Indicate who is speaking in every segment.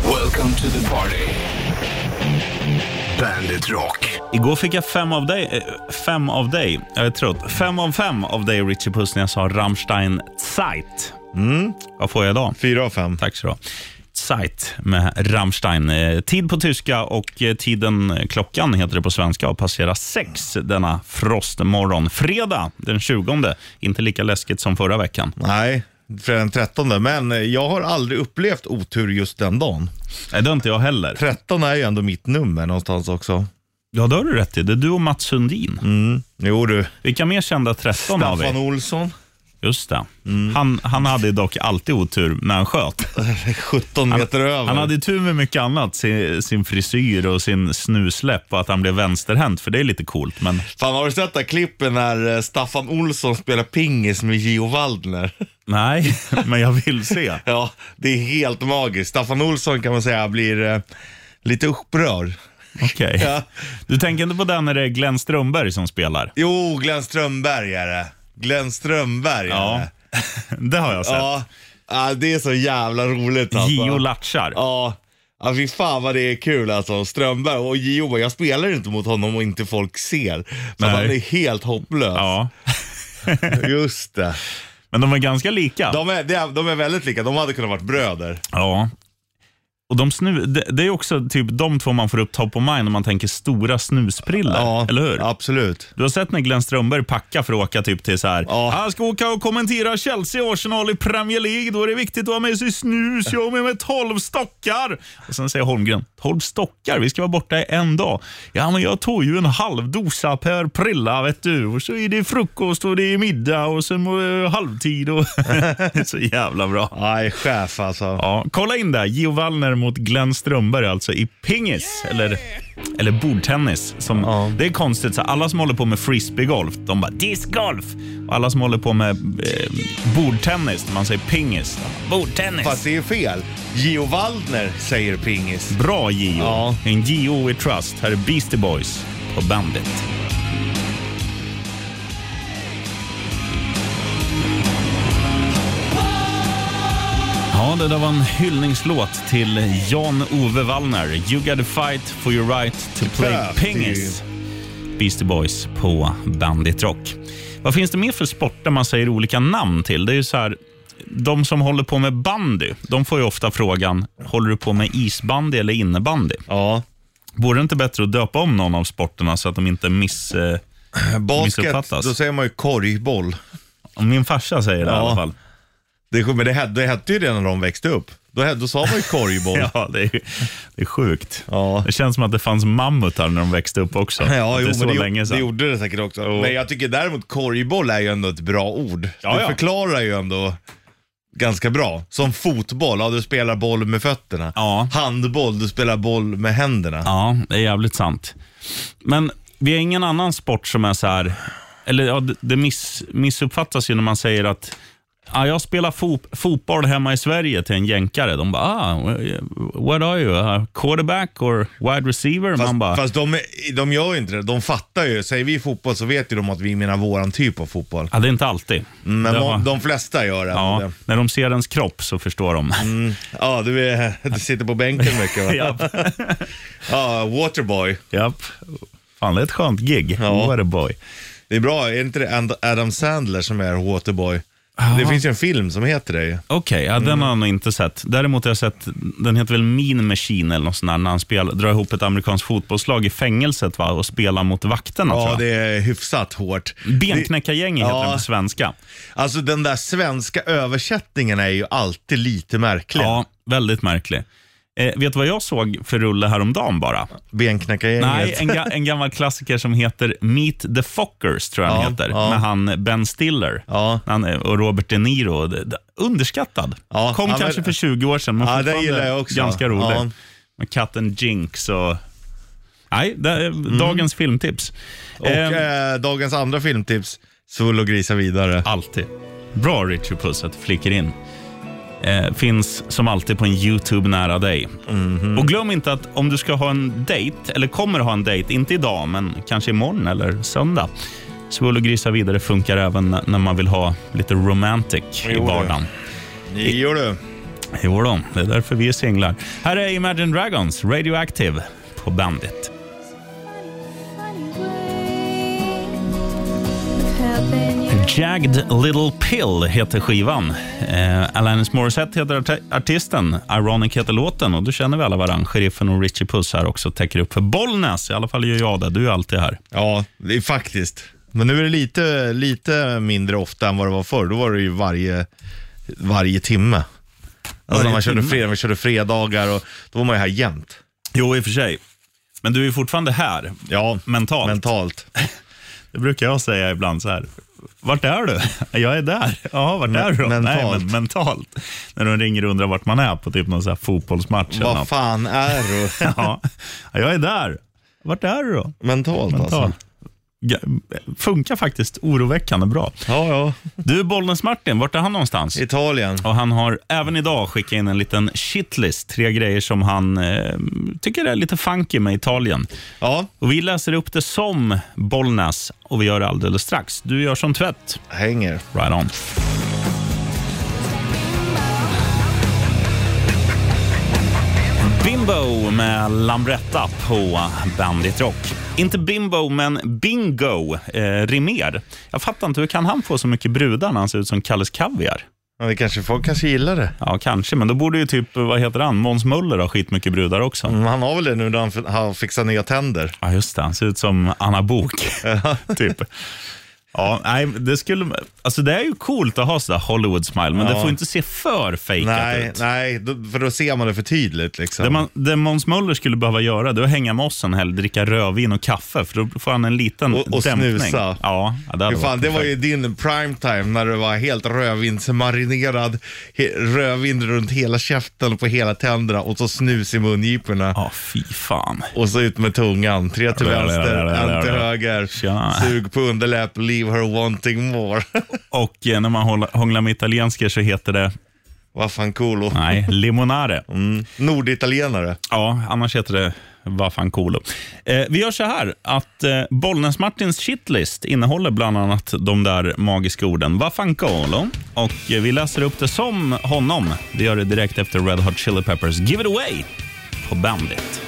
Speaker 1: Welcome to the party. Bandit Rock.
Speaker 2: Igår fick jag fem av dig, eh, fem av dig, jag är trött, fem av fem av dig Richie Puss när jag sa Rammstein Zeit. Mm, Vad får jag idag?
Speaker 3: Fyra av fem.
Speaker 2: Tack så du ha. Zeit med Rammstein. Eh, Tid på tyska och eh, tiden, eh, klockan heter det på svenska, och passerar sex denna frostmorgon. Fredag den 20. Inte lika läskigt som förra veckan.
Speaker 3: Nej, fredag den 13. Men eh, jag har aldrig upplevt otur just den dagen.
Speaker 2: Nej, det har inte jag heller.
Speaker 3: 13 är ju ändå mitt nummer någonstans också.
Speaker 2: Ja, det har du rätt i. Det är du och Mats Sundin.
Speaker 3: Jo du,
Speaker 2: Vilka mer kända 13 har
Speaker 3: Staffan
Speaker 2: vi?
Speaker 3: Olsson.
Speaker 2: Just det. Han, han hade dock alltid otur när han sköt.
Speaker 3: 17 meter över.
Speaker 2: Han hade ju tur med mycket annat. Sin, sin frisyr och sin snusläpp och att han blev vänsterhänt, för det är lite coolt. Men
Speaker 3: Fan har du sett det här klippet när eh, Staffan Olsson spelar pingis med Gio Waldner?
Speaker 2: nej, men jag vill se.
Speaker 3: Ja, det är helt magiskt. Staffan Olsson kan man säga blir eh, lite upprörd.
Speaker 2: Okej.
Speaker 3: Ja.
Speaker 2: Du tänker inte på den när det är Glenn Strömberg som spelar?
Speaker 3: Jo, Glenn Strömberg är det. Glenn Strömberg är
Speaker 2: Ja,
Speaker 3: det.
Speaker 2: det har jag sett.
Speaker 3: Ja. ja, det är så jävla roligt alltså.
Speaker 2: Gio Latchar.
Speaker 3: Ja, ja fy fan vad det är kul alltså. Strömberg och Gio bara, jag spelar inte mot honom och inte folk ser. Så
Speaker 2: Nej.
Speaker 3: han är helt hopplös.
Speaker 2: Ja.
Speaker 3: Just det.
Speaker 2: Men de är ganska lika.
Speaker 3: De är, de är- de är väldigt lika, de hade kunnat varit bröder.
Speaker 2: Ja. Och de snu, det, det är också typ de två man får upp top of mind om man tänker stora snusprillor. Eller hur?
Speaker 3: Absolut.
Speaker 2: Du har sett när Glenn Strömberg packar för att åka typ till så här.
Speaker 3: Ja.
Speaker 2: Han ska åka och kommentera Chelsea och Arsenal i Premier League. Då är det viktigt att ha med sig snus. Jag har med mig 12 stockar. Och sen säger Holmgren, 12 stockar? Vi ska vara borta i en dag. Ja, men jag tog ju en halv dosa per prilla, vet du. Och så är det frukost och det är middag och sen eh, halvtid. Och Det är så jävla bra.
Speaker 3: Aj, chef alltså.
Speaker 2: Ja, kolla in där. Gio Wallner mot Glenn Strömberg alltså i pingis, eller, eller bordtennis. Som, Det är konstigt, så alla som håller på med frisbeegolf, de bara discgolf. Och alla som håller på med eh, bordtennis, man säger pingis. de bara, Bordtennis.
Speaker 3: Fast det är fel. Gio Waldner säger pingis.
Speaker 2: Bra Gio.
Speaker 3: Ja.
Speaker 2: En Gio i Trust. Här är Beastie Boys på Bandit. Ja, det där var en hyllningslåt till Jan-Ove Wallner. You gotta fight for your right to play
Speaker 3: Klart.
Speaker 2: pingis. Beastie Boys på Bandit Rock. Vad finns det mer för sporter man säger olika namn till? Det är ju så här, de som håller på med bandy, de får ju ofta frågan, håller du på med isbandy eller innebandy?
Speaker 3: Ja.
Speaker 2: Vore det inte bättre att döpa om någon av sporterna så att de inte miss... Eh,
Speaker 3: Basket,
Speaker 2: Missuppfattas.
Speaker 3: då säger man ju korgboll.
Speaker 2: om min farsa säger det i
Speaker 3: Ja.
Speaker 2: alla fall.
Speaker 3: Det, men det, hette- det hette ju det när de växte upp. Då, hette- då sa man ju korgboll.
Speaker 2: Ja, det är, det är sjukt.
Speaker 3: Ja.
Speaker 2: Det känns som att det fanns mammutar när de växte upp också.
Speaker 3: Ja,
Speaker 2: Att
Speaker 3: jo,
Speaker 2: det är så
Speaker 3: men det,
Speaker 2: länge sedan.
Speaker 3: det gjorde det säkert också. Men jag tycker däremot korgboll är ju ändå ett bra ord.
Speaker 2: Ja,
Speaker 3: det
Speaker 2: ja.
Speaker 3: förklarar ju ändå ganska bra. Som fotboll, ja du spelar boll med fötterna.
Speaker 2: Ja.
Speaker 3: Handboll, du spelar boll med händerna.
Speaker 2: Ja, det är jävligt sant. Men vi har ingen annan sport som är så här... Eller ja, det- det miss, missuppfattas ju när man säger att ah, jag spelar fot, fotboll hemma i Sverige till en jänkare. De bara, ah, what are you? A quarterback or wide receiver?
Speaker 3: Fast,
Speaker 2: man bara,
Speaker 3: fast de, är- de gör ju inte det. De fattar ju. Säger vi fotboll så vet ju de att vi menar våran typ av fotboll.
Speaker 2: ja, "Ah, det är inte alltid.
Speaker 3: Men
Speaker 2: Det
Speaker 3: må,
Speaker 2: var-
Speaker 3: de flesta gör Mm, det. Mm.
Speaker 2: ja,
Speaker 3: Ja,
Speaker 2: när de ser ens kropp så förstår de.
Speaker 3: ja du, är, du sitter på bänken mycket va?
Speaker 2: Japp.
Speaker 3: Ja, Waterboy.
Speaker 2: Japp. Fan, det är ett skönt gig.
Speaker 3: Ja.
Speaker 2: What a boy.
Speaker 3: Det är bra, är inte det And- Adam Sandler som är Waterboy? Det finns ju en film som heter det ju.
Speaker 2: Okej, ja, den har jag nog inte sett. Däremot har jag sett, den heter väl Mean Machine eller något sånt där, när han spelar, drar ihop ett amerikanskt fotbollslag i fängelset va, och spelar mot vakterna.
Speaker 3: Ja,
Speaker 2: tror jag.
Speaker 3: det är hyfsat hårt.
Speaker 2: Benknäckargänget
Speaker 3: Ja.
Speaker 2: heter den på svenska.
Speaker 3: Alltså den där svenska översättningen är ju alltid lite märklig.
Speaker 2: Ja, väldigt märklig. Eh, vet du vad jag såg för rulle häromdagen bara?
Speaker 3: Benknäckargänget.
Speaker 2: Nej, en, ga en gammal klassiker som heter Meet the Fockers, tror jag
Speaker 3: Ja,
Speaker 2: den heter,
Speaker 3: ja.
Speaker 2: med han Ben Stiller
Speaker 3: Ja.
Speaker 2: han, eh, och Robert De Niro. D- d- Underskattad.
Speaker 3: Ja,
Speaker 2: Kom
Speaker 3: ja, men-
Speaker 2: kanske för 20 år sedan, men
Speaker 3: Ja, det
Speaker 2: fortfarande
Speaker 3: gillar jag också.
Speaker 2: ganska rolig.
Speaker 3: Ja.
Speaker 2: Med katten Jinx och... Nej, det är dagens filmtips.
Speaker 3: Mm. Och
Speaker 2: Ehm,
Speaker 3: eh, dagens andra filmtips, Svull och grisa vidare.
Speaker 2: Alltid. Bra Richard Puss att du flickar in. Eh, finns som alltid på en YouTube nära dig. Och glöm inte att om du ska ha en dejt, eller kommer ha en dejt, inte idag men kanske imorgon eller söndag. Svull och grisa vidare funkar även när man vill ha lite romantic i
Speaker 3: Jo, det.
Speaker 2: vardagen.
Speaker 3: Jo du.
Speaker 2: Jo då, det är därför vi är singlar. Här är Imagine Dragons, Radioactive, på Bandit. Jagged Little Pill heter skivan. Eh, Alanis Morissette heter art- artisten. Ironic heter låten och då känner vi alla varandra. Sheriffen och Richie Puss här också täcker upp för Bollnäs. I alla fall gör jag det. Du är alltid här.
Speaker 3: Ja, det är faktiskt. Men nu är det lite, lite mindre ofta än vad det var förr. Då var det ju varje, varje timme. Alltså
Speaker 2: Varje
Speaker 3: när man körde,
Speaker 2: timme?
Speaker 3: fred, man körde fredagar och då var man ju här jämt.
Speaker 2: Jo, i och för sig. Men du är ju fortfarande här,
Speaker 3: Ja,
Speaker 2: mentalt.
Speaker 3: mentalt.
Speaker 2: Det brukar jag säga ibland så här. Vart är du? Jag är där. Ja, vart är du då? Nej,
Speaker 3: mentalt.
Speaker 2: men mentalt. När de ringer och undrar vart man är på typ någon så här fotbollsmatch. eller
Speaker 3: Vad
Speaker 2: något.
Speaker 3: fan är du?
Speaker 2: Ja, jag är där. Vart är du då?
Speaker 3: mentalt, alltså.
Speaker 2: Mental. Ga- Funkar faktiskt oroväckande bra.
Speaker 3: Ja, ja.
Speaker 2: Du, Bollnäs-Martin, vart är han någonstans?
Speaker 3: Italien.
Speaker 2: Och Han har även idag skickat in en liten shitlist. Tre grejer som han eh, tycker är lite funky med Italien.
Speaker 3: Ja,
Speaker 2: Och Vi läser upp det som Bollnäs och vi gör det alldeles strax. Du gör som tvätt.
Speaker 3: hänger.
Speaker 2: Right on. Bimbo med Lambretta på Bandit Rock. Inte bimbo, men bingo eh, Rimér. Jag fattar inte, hur kan han få så mycket brudar när han ser ut som Kalles Kaviar?
Speaker 3: Ja, det kanske, folk kanske gillar det.
Speaker 2: Ja, kanske, men då borde ju typ, vad heter han, Måns Möller ha skitmycket brudar också.
Speaker 3: Men Mm, han har väl det nu när han f- har fixat nya tänder.
Speaker 2: Ja, just det. Han ser ut som Anna Bok typ. Ja, nej, det, skulle, alltså det är ju coolt att ha sådär Hollywood-smile, men det
Speaker 3: Ja.
Speaker 2: får inte se för fejkat
Speaker 3: Nej,
Speaker 2: ut.
Speaker 3: nej då, för då ser man det för tydligt. Liksom.
Speaker 2: Det, man, det Måns Möller skulle behöva göra det är att hänga med oss en helg, dricka rödvin och kaffe, för då får han en liten
Speaker 3: Och- och
Speaker 2: dämpning.
Speaker 3: snusa.
Speaker 2: Ja, ja, det, hade
Speaker 3: Hur fan,
Speaker 2: varit
Speaker 3: det var
Speaker 2: perfekt.
Speaker 3: ju din prime time när du var helt rödvinsmarinerad, he, rödvin runt hela käften och på hela tänderna och så snus i mungiporna.
Speaker 2: Ja, fy fan.
Speaker 3: Och så ut med tungan, tre till
Speaker 2: Ja, ja, ja,
Speaker 3: vänster,
Speaker 2: ja, ja, ja,
Speaker 3: en till
Speaker 2: ja.
Speaker 3: höger,
Speaker 2: Tja.
Speaker 3: sug på underläpp, leave her wanting more.
Speaker 2: Och eh, när man hålla- hånglar med italiensker så heter det,
Speaker 3: Vad fan coolo.
Speaker 2: nej, limonare.
Speaker 3: Mm. Norditalienare.
Speaker 2: Ja, annars heter det vad fan cool. Eh, vi gör så här att eh, Bollnäs-Martins shitlist innehåller bland annat de där magiska orden vad fan cool. Och eh, vi läser upp det som honom. Vi gör det direkt efter Red Hot Chili Peppers Give It Away på Bandit.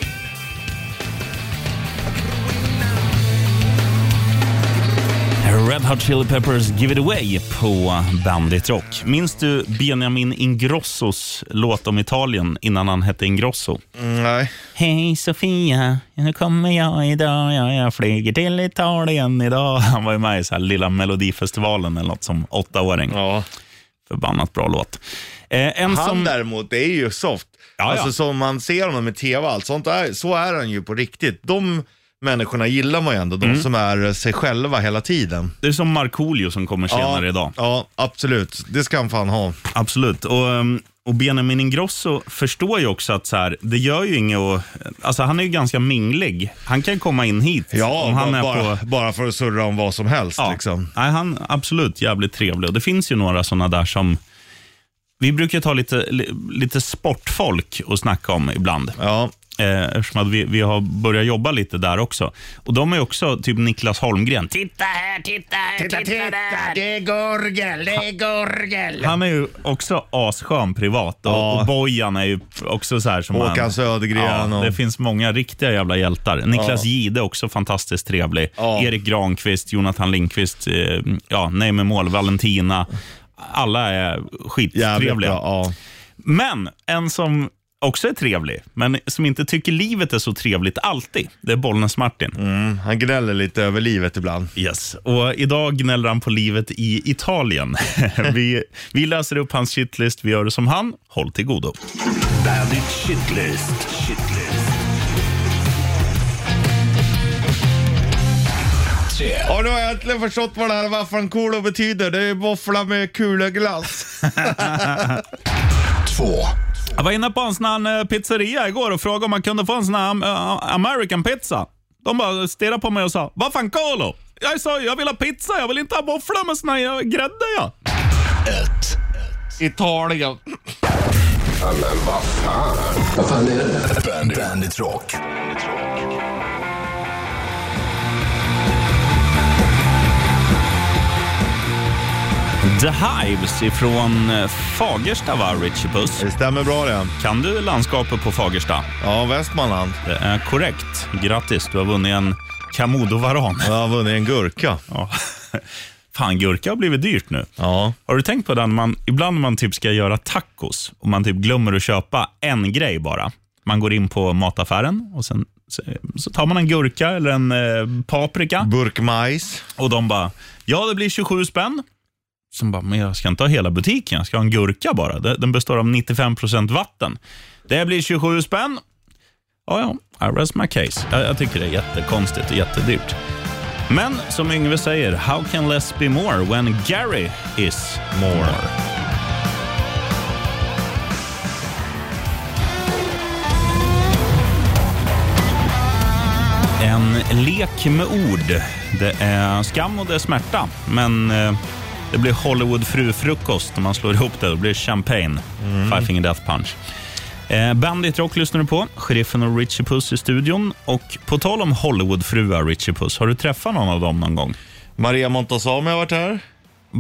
Speaker 2: Red Hot Chili Peppers Give It Away på Bandit Rock. Minns du Benjamin Ingrossos låt om Italien innan han hette Ingrosso?
Speaker 3: Mm, nej.
Speaker 2: Hej Sofia, nu kommer jag idag. Ja, jag flyger till Italien idag. Han var ju med i så här Lilla Melodifestivalen eller något som åttaåring.
Speaker 3: Ja.
Speaker 2: Förbannat bra låt. Eh, en
Speaker 3: Han
Speaker 2: som...
Speaker 3: däremot, det är ju soft.
Speaker 2: ja.
Speaker 3: Alltså som man ser honom med tv och allt sånt, där, så är han ju på riktigt. De människorna gillar man ju ändå,
Speaker 2: Mm.
Speaker 3: de som är eh, sig själva hela tiden.
Speaker 2: Det är som Markoolio som kommer senare idag.
Speaker 3: Ja, absolut. Det ska han fan ha.
Speaker 2: Absolut. Och, ehm, och Benjamin Ingrosso förstår ju också att så här, det gör ju inget och, Alltså han är ju ganska minglig. Han kan komma in hit om han
Speaker 3: bara,
Speaker 2: är
Speaker 3: bara,
Speaker 2: på...
Speaker 3: bara för att surra om vad som helst.
Speaker 2: Ja.
Speaker 3: Liksom.
Speaker 2: Nej, han är absolut jävligt trevlig. Och det finns ju några sådana där som... Vi brukar ta lite, li- lite sportfolk och snacka om ibland.
Speaker 1: Äh,
Speaker 3: Ja.
Speaker 2: Eh, eftersom att vi, vi har börjat jobba lite där också. Och de är också typ Niklas Holmgren.
Speaker 1: Titta här, titta här, titta, där.
Speaker 3: det är gorgel, det är gorgel.
Speaker 2: Han är ju också asskön privat och,
Speaker 3: Ja.
Speaker 2: och Bojan är ju också så här som
Speaker 3: Håkan
Speaker 2: han.
Speaker 3: Södergren
Speaker 2: Ja,
Speaker 3: och-
Speaker 2: Det finns många riktiga jävla hjältar. Niklas Jihde också fantastiskt trevlig.
Speaker 3: Ja.
Speaker 2: Erik Granqvist, Jonathan Lindqvist, eh, ja, Nej med mål, Valentina. Alla är
Speaker 3: Jävligt
Speaker 2: skittrevliga.
Speaker 3: bra. Ja.
Speaker 2: Men en som också är trevlig, men som inte tycker livet är så trevligt alltid, det är Bollnäs-Martin.
Speaker 3: Mm, han gnäller lite över livet ibland.
Speaker 2: Yes, och idag gnäller han på livet i Italien. vi, vi läser upp hans shitlist, vi gör det som han. Håll till godo.
Speaker 4: Bandit Shitlist. Shitlist. Tre,
Speaker 3: Ja, nu har jag äntligen förstått vad det här vaffankolo betyder. Det är våffla med kulaglass.
Speaker 4: två,
Speaker 2: Jag var inne på en sån här eh, pizzeria igår och frågade om man kunde få en sån här eh, American pizza. De bara stirrade på mig och sa “Vad fan Carlo?” Jag sa “Jag vill ha pizza, jag vill inte ha våfflor med sån här eh, grädde ja.
Speaker 4: ett,
Speaker 3: Italien.
Speaker 4: Bandit, Bandit Rock.
Speaker 2: The Hives ifrån eh, Fagersta, va, Richie Puss?
Speaker 3: Det stämmer bra det.
Speaker 2: Kan du landskapet på Fagersta?
Speaker 3: Ja, Västmanland.
Speaker 2: Det är korrekt. Grattis, du har vunnit en Camodo-varan.
Speaker 3: Jag har vunnit en gurka.
Speaker 2: Ja. Fan, gurka har blivit dyrt nu.
Speaker 3: Ja.
Speaker 2: Har du tänkt på den? Man, ibland när man typ ska göra tacos och man typ glömmer att köpa en grej bara. Man går in på mataffären och sen så- så tar man en gurka eller en eh, paprika
Speaker 3: Burkmajs.
Speaker 2: och de bara, ja det blir 27 spänn. Sen bara, men jag ska inte ha hela butiken, jag ska ha en gurka bara. Den den består av 95% vatten. Det blir 27 spänn. Ja, ja, I rest my case. Jag, jag tycker det är jättekonstigt och jättedyrt. Men som Yngve säger, how can less be more when Gary is more? En lek med ord. Det är skam och det är smärta, men eh, det blir Hollywood frufrukost när man slår ihop det. Då blir det champagne.
Speaker 3: Mm.
Speaker 2: Five Finger Death Punch. Eh, Bandit Rock lyssnar du på. Sheriffen och Richie Puss i studion. Och på tal om Hollywoodfruar, Richie Puss, har du träffat någon av dem någon gång?
Speaker 3: Maria Montazami har varit här.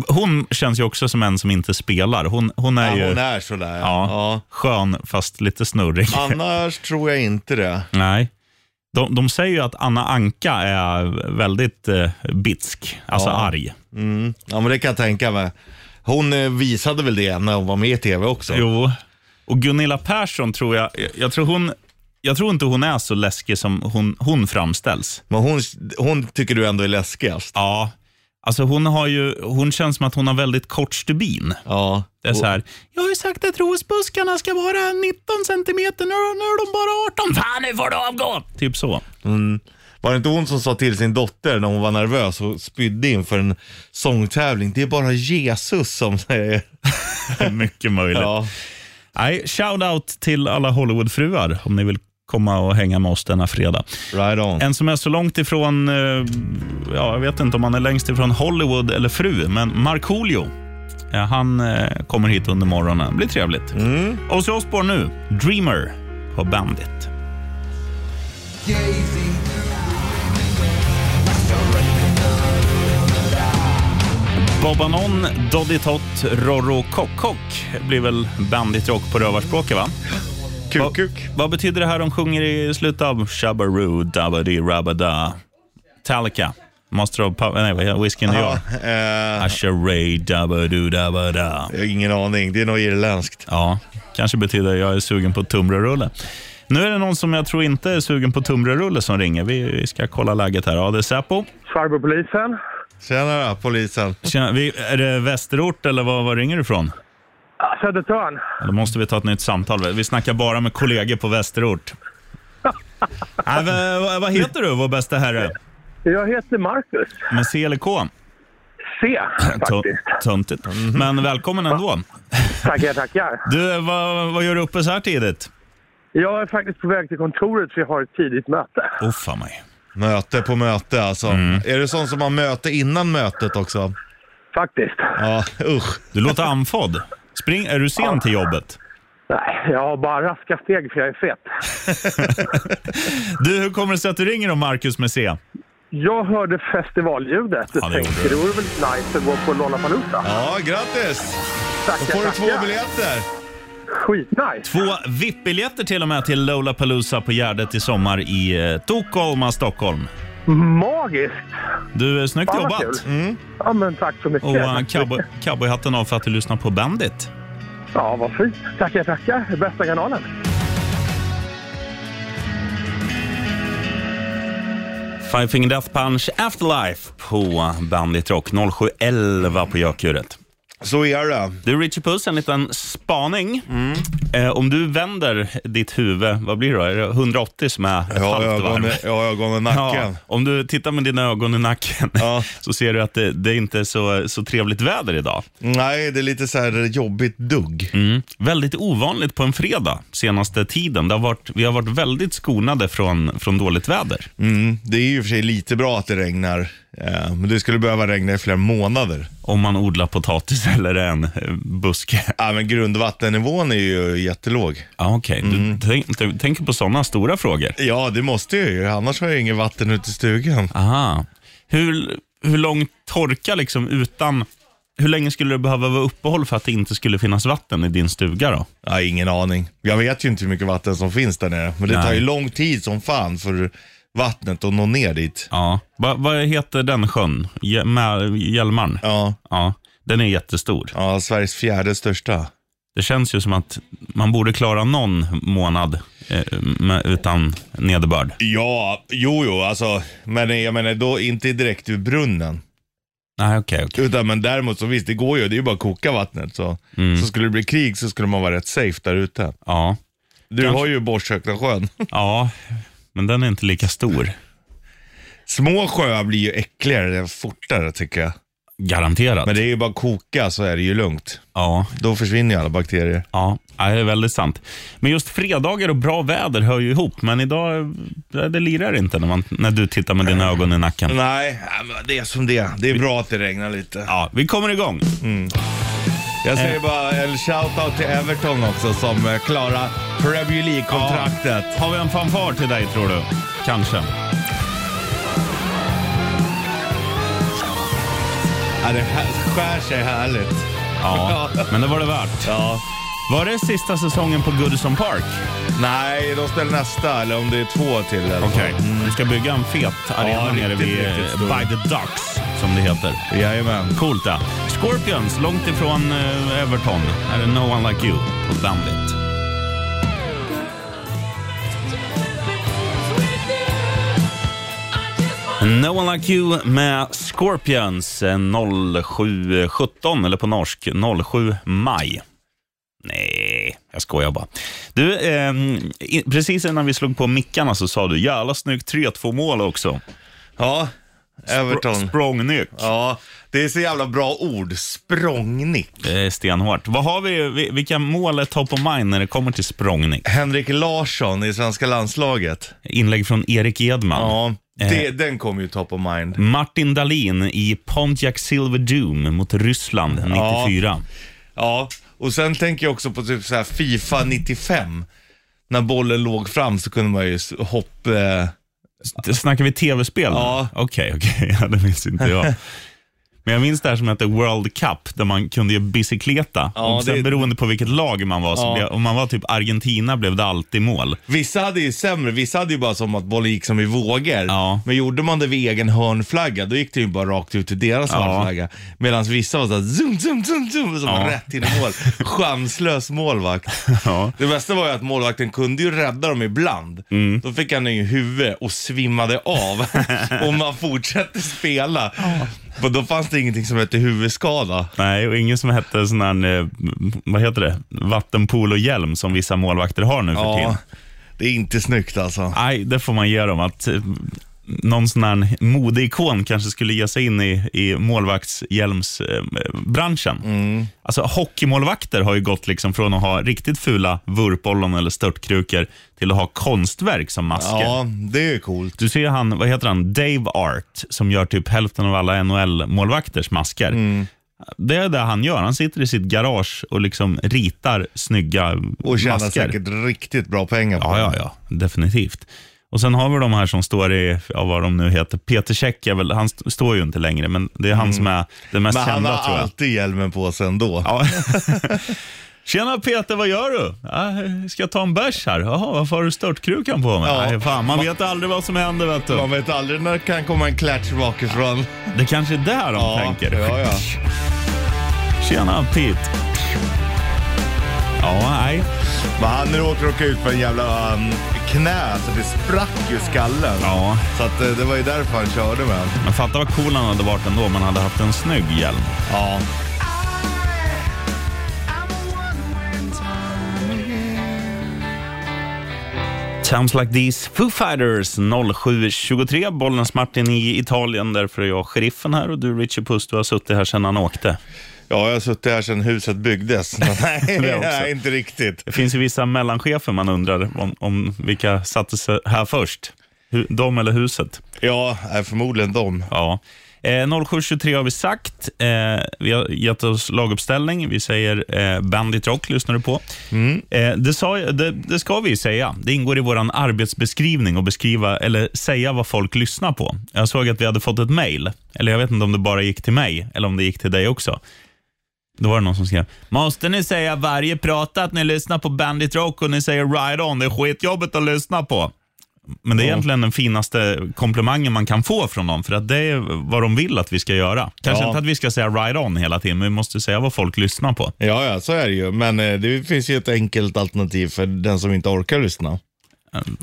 Speaker 2: Hon känns ju också som en som inte spelar. Hon, hon är
Speaker 3: Ja,
Speaker 2: ju
Speaker 3: hon är sådär.
Speaker 2: Ja,
Speaker 3: Ja.
Speaker 2: skön, fast lite snurrig.
Speaker 3: Annars tror jag inte det.
Speaker 2: Nej. De, de säger ju att Anna Anka är väldigt eh, bitsk, alltså
Speaker 3: Ja.
Speaker 2: arg.
Speaker 3: Mm. Ja, men det kan jag tänka mig. Hon eh, visade väl det när hon var med i tv också.
Speaker 2: Jo. Och Gunilla Persson tror jag, jag- jag tror, hon, jag tror inte hon är så läskig som hon, hon framställs.
Speaker 3: Men hon, hon tycker du ändå är läskigast.
Speaker 2: Ja. Alltså hon, har ju, hon känns som att hon har väldigt kort stubin.
Speaker 3: Ja.
Speaker 2: Det är så här, jag har ju sagt att rosbuskarna ska vara 19 centimeter, nu, nu är de bara 18. Fan, nu får du avgå! Typ så.
Speaker 3: Var det inte hon som sa till sin dotter när hon var nervös och spydde inför en sångtävling, det är bara Jesus som säger.
Speaker 2: Mycket möjligt.
Speaker 3: Ja.
Speaker 2: Nej, shout out till alla Hollywoodfruar om ni vill komma och hänga med oss denna fredag.
Speaker 3: Right on.
Speaker 2: En som är så långt ifrån, eh, ja, jag vet inte om han är längst ifrån Hollywood eller fru, men Markoolio. Ja, han eh, kommer hit under morgonen. Det blir trevligt. Mm. Ozzy Osbourne nu, Dreamer på Bandit. Bobanon, Doddy Tott, Rorro Kockkock blir väl bandit-rock på rövarspråket, va?
Speaker 3: Kuk, kuk.
Speaker 2: Vad betyder det här de sjunger i slutet av Shabbaroo, Dabadi, Rabada? Metallica, Master of Power, nej, vad heter- Whiskey in the Jar.
Speaker 3: Eh,
Speaker 2: Asha Ray, Dabadoo, Dabada.
Speaker 3: jag har ingen aning, det är nog irländskt.
Speaker 2: Ja, kanske betyder jag är sugen på tumbrarulle. Nu är det någon som jag tror inte är sugen på tumbrarulle som ringer. Vi, vi ska kolla läget här. Ja, det är Säpo.
Speaker 5: Cyberpolisen?
Speaker 3: Tjenare polisen.
Speaker 2: Tjena, vi, är det Västerort eller var, var ringer du ifrån?
Speaker 5: Ah, Södertörn?
Speaker 2: Ja, Då måste vi ta ett nytt samtal. Vi snackar bara med kollegor på Västerort. Nej, vad, vad heter du, vår bästa herre?
Speaker 5: Jag heter Marcus.
Speaker 2: Med C eller K?
Speaker 5: C,
Speaker 2: Tö-
Speaker 5: faktiskt. Mhm.
Speaker 2: Töntigt. Men välkommen ändå.
Speaker 5: Tackar, tackar.
Speaker 2: Du, vad, vad gör du uppe så här tidigt?
Speaker 5: Jag är faktiskt på väg till kontoret för jag har ett tidigt möte.
Speaker 2: Åh, fan mig.
Speaker 3: Möte på möte alltså. Är det sån som har möte innan mötet också?
Speaker 5: Faktiskt.
Speaker 3: Ja, usch.
Speaker 2: Du låter andfådd. Spring, är du sen till jobbet?
Speaker 5: Nej, jag har bara raska steg för jag är fet.
Speaker 2: Du, hur kommer det sig att du ringer om Marcus med C?
Speaker 5: Jag hörde festivalljudet och
Speaker 2: Ja, det
Speaker 5: tänkte
Speaker 2: gjorde
Speaker 5: det vore väl nice att gå på Lollapalooza.
Speaker 3: Ja, grattis! Då
Speaker 5: Tackar,
Speaker 3: får du
Speaker 5: tackar.
Speaker 3: två biljetter.
Speaker 5: Skitnice.
Speaker 2: Två VIP-biljetter till och med till Lollapalooza på Gärdet i sommar i eh, Tokholma, Stockholm.
Speaker 5: Magiskt.
Speaker 2: Du, eh, snyggt
Speaker 5: Fan, vad
Speaker 2: jobbat!
Speaker 5: kul. Ja, men tack så mycket.
Speaker 2: Och eh, cowboy- cowboyhatten av för att du lyssnar på Bandit.
Speaker 5: Ja, vad fint. Tackar, tackar. Bästa kanalen.
Speaker 2: Five Finger Death Punch Afterlife på Bandit Rock 0711 på Gökuret.
Speaker 3: Så är det.
Speaker 2: Du Richie Puss, en liten spaning. Eh, om du vänder ditt huvud, vad blir det då? Är det 180 som är ett
Speaker 3: Jag har
Speaker 2: halvt varv?
Speaker 3: ögon, jag har ögon i nacken.
Speaker 2: om du tittar med dina ögon i nacken
Speaker 3: Ja.
Speaker 2: så ser du att det, det är inte är så, så trevligt väder idag.
Speaker 3: Nej, det är lite så här jobbigt dugg.
Speaker 2: Väldigt ovanligt på en fredag senaste tiden. Det har varit, vi har varit väldigt skonade från, från dåligt väder.
Speaker 3: Mm, det är ju i och för sig lite bra att det regnar, eh, men det skulle behöva regna i flera månader.
Speaker 2: Om man odlar potatis eller en eh, buske.
Speaker 3: Ja, men grundvattennivån är ju jättelåg.
Speaker 2: Ja, Okej,
Speaker 3: Mm.
Speaker 2: du tänk, du tänker på sådana stora frågor.
Speaker 3: Ja, det måste jag ju, annars har jag inget vatten ute i stugan.
Speaker 2: Aha. Hur, hur långt torka liksom utan hur länge skulle det behöva vara uppehåll för att det inte skulle finnas vatten i din stuga då?
Speaker 3: Ja, ingen aning. Jag vet ju inte hur mycket vatten som finns där nere. Men det tar
Speaker 2: Nej.
Speaker 3: ju lång tid som fan för vattnet att nå ner dit.
Speaker 2: Ja. Va, vad heter den sjön? Hje- med Hjälmaren?
Speaker 3: Ja,
Speaker 2: Ja. Den är jättestor.
Speaker 3: ja Sveriges fjärde största.
Speaker 2: Det känns ju som att man borde klara någon månad eh, med, utan nederbörd.
Speaker 3: Ja, jo, jo, alltså. Men jag menar då inte direkt ur brunnen.
Speaker 2: Nej, okej. okej.
Speaker 3: Utan men däremot så visst, det går ju. Det är ju bara att koka vattnet. Så, så skulle det bli krig så skulle man vara rätt safe där ute.
Speaker 2: Ja.
Speaker 3: Du har ju Borstkökna sjön.
Speaker 2: ja, men den är inte lika stor.
Speaker 3: Små sjöar blir ju äckligare fortare tycker jag.
Speaker 2: Garanterat.
Speaker 3: Men det är ju bara att koka så är det ju lugnt.
Speaker 2: Ja,
Speaker 3: Då försvinner ju alla bakterier.
Speaker 2: ja, ja, det är väldigt sant. Men just fredagar och bra väder hör ju ihop, men idag eh, det lirar inte när, man, när du tittar med dina ögon i nacken.
Speaker 3: Nej, ja, men det är som det är. Det är bra att det regnar lite.
Speaker 2: Ja, vi kommer igång.
Speaker 3: Jag säger bara en shout-out till Everton också som eh, klarar Premier League-kontraktet.
Speaker 2: Har vi en fanfar till dig tror du? Kanske.
Speaker 3: Ja, det här skär sig härligt.
Speaker 2: Ja, men det var det värt.
Speaker 3: Ja.
Speaker 2: Var det sista säsongen på Goodison Park?
Speaker 3: Nej, de spelar nästa, eller om det är två till. eller
Speaker 2: Okej. Vi ska bygga en fet arena
Speaker 3: Mm. Ja,
Speaker 2: nere
Speaker 3: riktigt,
Speaker 2: vid eh,
Speaker 3: riktigt stor.
Speaker 2: By the Ducks, som det heter.
Speaker 3: så. Jajamän.
Speaker 2: Coolt det. Scorpions, långt ifrån eh, Everton. Här är No One Like You på Bandit. No One Like You med Scorpions eh, 07.17, eller på norsk 07 maj. Nej, jag skojar bara. Du, ehm, i- precis innan vi slog på mickarna så sa du jävla snyggt 3-2 mål också.
Speaker 3: Ja, Everton.
Speaker 2: Språngnyck.
Speaker 3: Ja, det är så jävla bra ord. Språngnick.
Speaker 2: Det är Eh, stenhårt. Vad har vi, vi- vilka mål är top of mind när det kommer till språngning?
Speaker 3: Henrik Larsson i svenska landslaget.
Speaker 2: Inlägg från Erik Edman.
Speaker 3: Ja, det, den kom ju top of mind.
Speaker 2: Martin Dahlin i Pontiac Silver Doom mot Ryssland 94.
Speaker 3: Ja, och sen tänker jag också på typ så här Fifa 95. När bollen låg fram så kunde man ju s- hopp... Eh,
Speaker 2: Ja. Snackar vi tv-spel? nu?
Speaker 3: Ja.
Speaker 2: Okej, okej. Ja, det minns inte jag. Men jag minns det här som hette World Cup, där man kunde ju bicykleta.
Speaker 3: Ja,
Speaker 2: och sen
Speaker 3: det-
Speaker 2: beroende på vilket lag man var, så
Speaker 3: Ja.
Speaker 2: blev, om man var typ Argentina blev det alltid mål.
Speaker 3: vissa hade ju sämre, vissa hade ju bara som att bollen gick som i vågor.
Speaker 2: Ja.
Speaker 3: Men gjorde man det vid egen hörnflagga, då gick det ju bara rakt ut till deras
Speaker 2: Ja.
Speaker 3: hörnflagga. Medan vissa var såhär zoom, zoom, zoom, zoom, som
Speaker 2: Ja.
Speaker 3: var rätt in i mål. Chanslös målvakt.
Speaker 2: Ja.
Speaker 3: Det bästa var ju att målvakten kunde ju rädda dem ibland.
Speaker 2: Mm.
Speaker 3: Då fick han den i huvudet och svimmade av. och man fortsatte spela. Men då fanns det ingenting som hette huvudskada.
Speaker 2: Nej, och ingen som hette sån här, eh, vad heter det, vattenpool och hjälm som vissa målvakter har nu för tiden.
Speaker 3: Ja, det är inte snyggt alltså.
Speaker 2: Nej, det får man ge dem. Att eh, någon sån här modeikon kanske skulle ge sig in i, i målvaktshjälmsbranschen.
Speaker 3: Mm.
Speaker 2: Alltså, hockeymålvakter har ju gått liksom från att ha riktigt fula vurpollon eller störtkrukor till att ha konstverk som masker.
Speaker 3: Ja, det är ju coolt.
Speaker 2: Du ser han, vad heter han, Dave Art, som gör typ hälften av alla NHL-målvakters masker.
Speaker 3: Mm.
Speaker 2: Det är det han gör. Han sitter i sitt garage och liksom ritar snygga
Speaker 3: Och tjänar
Speaker 2: masker.
Speaker 3: säkert riktigt bra pengar på
Speaker 2: Ja,
Speaker 3: det.
Speaker 2: ja, ja. Definitivt. Och sen har vi de här som står i, ja, vad de nu heter, Peter Käck är väl, han st- står ju inte längre, men det är han som är den mest
Speaker 3: Mm. Men han
Speaker 2: kända
Speaker 3: har
Speaker 2: tror jag.
Speaker 3: alltid hjälmen på sig ändå.
Speaker 2: Ja. Tjena Peter, vad gör du? "Ja, Ska jag ta en bärs här? Jaha, varför har du störtkrukan på mig?
Speaker 3: Ja.
Speaker 2: Nej, fan, man vet aldrig vad som händer vet du.
Speaker 3: Man vet aldrig när det kan komma en klatsch bakifrån.
Speaker 2: Det kanske är där de tänker.
Speaker 3: ja, ja.
Speaker 2: Tjena Pete. Ja, nej.
Speaker 3: Men han råkade åka ut på en jävla um, knä så det sprack ju skallen.
Speaker 2: Ja,
Speaker 3: Så att, eh, det var ju därför han körde med.
Speaker 2: men fatta vad cool han hade varit ändå om han hade haft en snygg hjälm.
Speaker 3: Ja.
Speaker 2: Sounds like these Foo Fighters 07.23. Bollnäs Martin i Italien. Därför är jag sheriffen här och du Richie Puss, du har suttit här sedan han åkte.
Speaker 3: Ja, jag har suttit här sedan huset byggdes. Nej,
Speaker 2: Det också.
Speaker 3: nej, inte riktigt.
Speaker 2: Det finns ju vissa mellanchefer man undrar om, om vilka satte sig här först. Hu- De eller huset.
Speaker 3: Ja, nej, förmodligen dem.
Speaker 2: Ja. Eh, 07.23 har vi sagt. Eh, vi har gett oss laguppställning. Vi säger eh, Bandit Rock, lyssnar du på. Eh, det, sa, jag- det, det ska vi ju säga. Det ingår i vår arbetsbeskrivning att beskriva, eller säga vad folk lyssnar på. Jag såg att vi hade fått ett mejl, eller jag vet inte om det bara gick till mig, eller om det gick till dig också. Då var det någon som skrev. Måste ni säga varje prata att ni lyssnar på Bandit Rock och ni säger Ride On? Det är skitjobbigt att lyssna på. Men det är egentligen den finaste komplimangen man kan få från dem, för att det är vad de vill att vi ska göra. Kanske
Speaker 3: Ja.
Speaker 2: inte att vi ska säga Ride On hela tiden, men vi måste säga vad folk lyssnar på.
Speaker 3: Ja, ja, så är det ju. Men eh, det finns ju ett enkelt alternativ för den som inte orkar lyssna.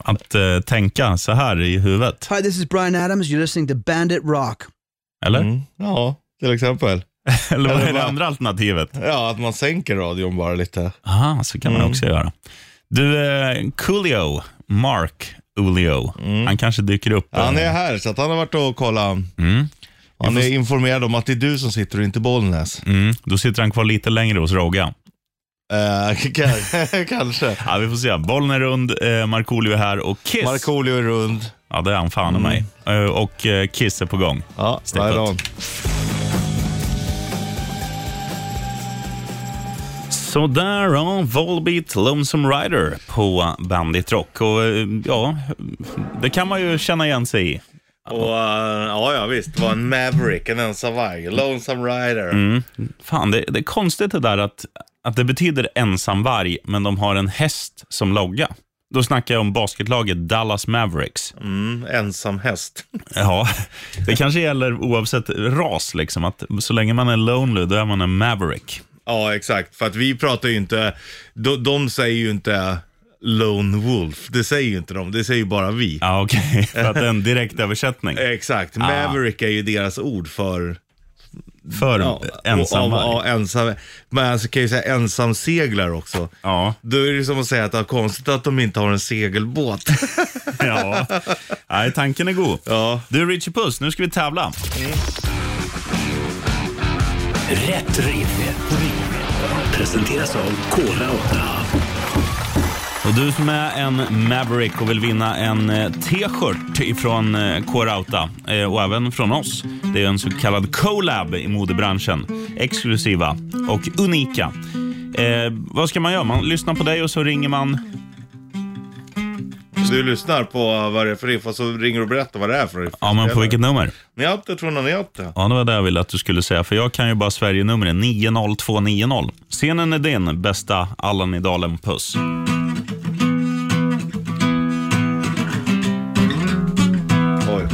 Speaker 2: Att eh, tänka så här i huvudet,
Speaker 6: Hi, this is Brian Adams. You're listening to Bandit Rock.
Speaker 2: eller?
Speaker 3: Mm. Ja, till exempel.
Speaker 2: Eller vad är
Speaker 3: Eller
Speaker 2: det
Speaker 3: bara-
Speaker 2: andra alternativet?
Speaker 3: Ja, att man sänker radion bara lite.
Speaker 2: Aha, så kan man också göra. Du, eh, Coolio, Mark Olio, han kanske dyker upp.
Speaker 3: Mm. Han
Speaker 2: eh,
Speaker 3: är här, så att han har varit och kollat. Han är informerad om att det är du som sitter och inte Bollnäs.
Speaker 2: mm, då sitter han kvar lite längre hos Rogga.
Speaker 3: Eh, k- kanske.
Speaker 2: Ja, vi får se. Bollen är rund, eh, Markoolio är här och Kiss.
Speaker 3: Markoolio är rund.
Speaker 2: ja, det är han fan i mig. Eh, och eh, Kiss är på gång.
Speaker 3: Mm. Ja,
Speaker 2: Step
Speaker 3: right
Speaker 2: up.
Speaker 3: on.
Speaker 2: Sådär, ja. Volbeat Lonesome Rider på Bandit Rock. Och, eh, ja, det kan man ju känna igen sig i.
Speaker 3: Och, eh, ja, ja, visst. Det var en Maverick, en ensam varg, Lonesome Rider.
Speaker 2: Fan, det, det är konstigt det där att, att det betyder ensam varg, men de har en häst som logga. Då snackar jag om basketlaget Dallas Mavericks.
Speaker 3: Mm, ensam häst.
Speaker 2: Ja, det kanske gäller oavsett ras, liksom, att så länge man är lonely, då är man en maverick.
Speaker 3: Ja, exakt. För att vi pratar ju inte, de, de säger ju inte Lone Wolf. Det säger ju inte de, det säger ju bara vi.
Speaker 2: Ja, okej. För att det är en direkt översättning.
Speaker 3: Exakt. Maverick är ju deras ord för
Speaker 2: För ensam
Speaker 3: och- och-
Speaker 2: varg.
Speaker 3: och ensam. Men alltså kan ju säga ensamseglare också.
Speaker 2: Ja,
Speaker 3: Då är det som att säga att det är konstigt att de inte har en segelbåt.
Speaker 2: ja. Nej, tanken är god.
Speaker 3: Ja.
Speaker 2: Du, Richie Puss, nu ska vi tävla.
Speaker 4: Rätt riff. Presenteras av Kora 8.
Speaker 2: Och du som är en Maverick och vill vinna en eh, t-shirt ifrån eh, K-Rauta eh, och även från oss. Det är en så kallad collab i modebranschen. Exklusiva och unika. Eh, vad ska man göra? Man lyssnar på dig och så ringer man.
Speaker 3: Du lyssnar på eh, vad det är för riff och så ringer du och berättar vad det är för riff.
Speaker 2: Ja, men på vilket nummer?
Speaker 3: Njatte, tror ni njatte?
Speaker 2: Ja, det var det jag ville att du skulle säga, för jag kan ju bara Sverige-numren 90290. Scenen är din, bästa Allan i dalen. Puss.
Speaker 3: Oj.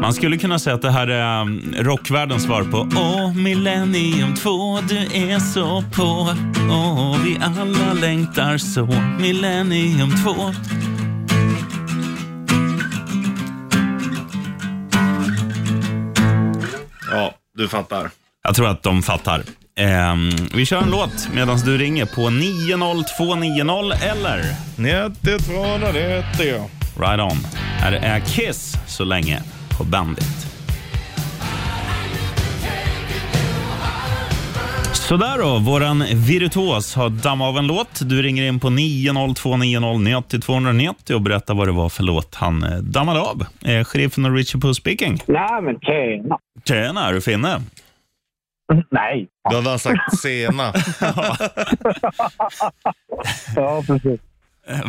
Speaker 2: Man skulle kunna säga att det här är um, rockvärldens svar på Åh, Millennium 2, du är så på Åh, vi alla längtar så Millennium 2
Speaker 3: Ja, du fattar.
Speaker 2: Jag tror att de fattar. Ehm, vi kör en låt medan du ringer på 90290 eller
Speaker 3: Njatte, tror ni njatte, ja.
Speaker 2: Right On. Här är Kiss så länge på Bandit. Sådär då, våran virtuos har dammat av en låt. Du ringer in på 9029090 och berättar vad det var för låt han eh, dammade av. Eh, sheriffen och Richard Puss speaking.
Speaker 7: Nej, men tjena.
Speaker 2: Tjena, är du finne?
Speaker 7: Nej.
Speaker 3: Då hade han sagt sena.
Speaker 7: Ja, precis.
Speaker 2: Eh,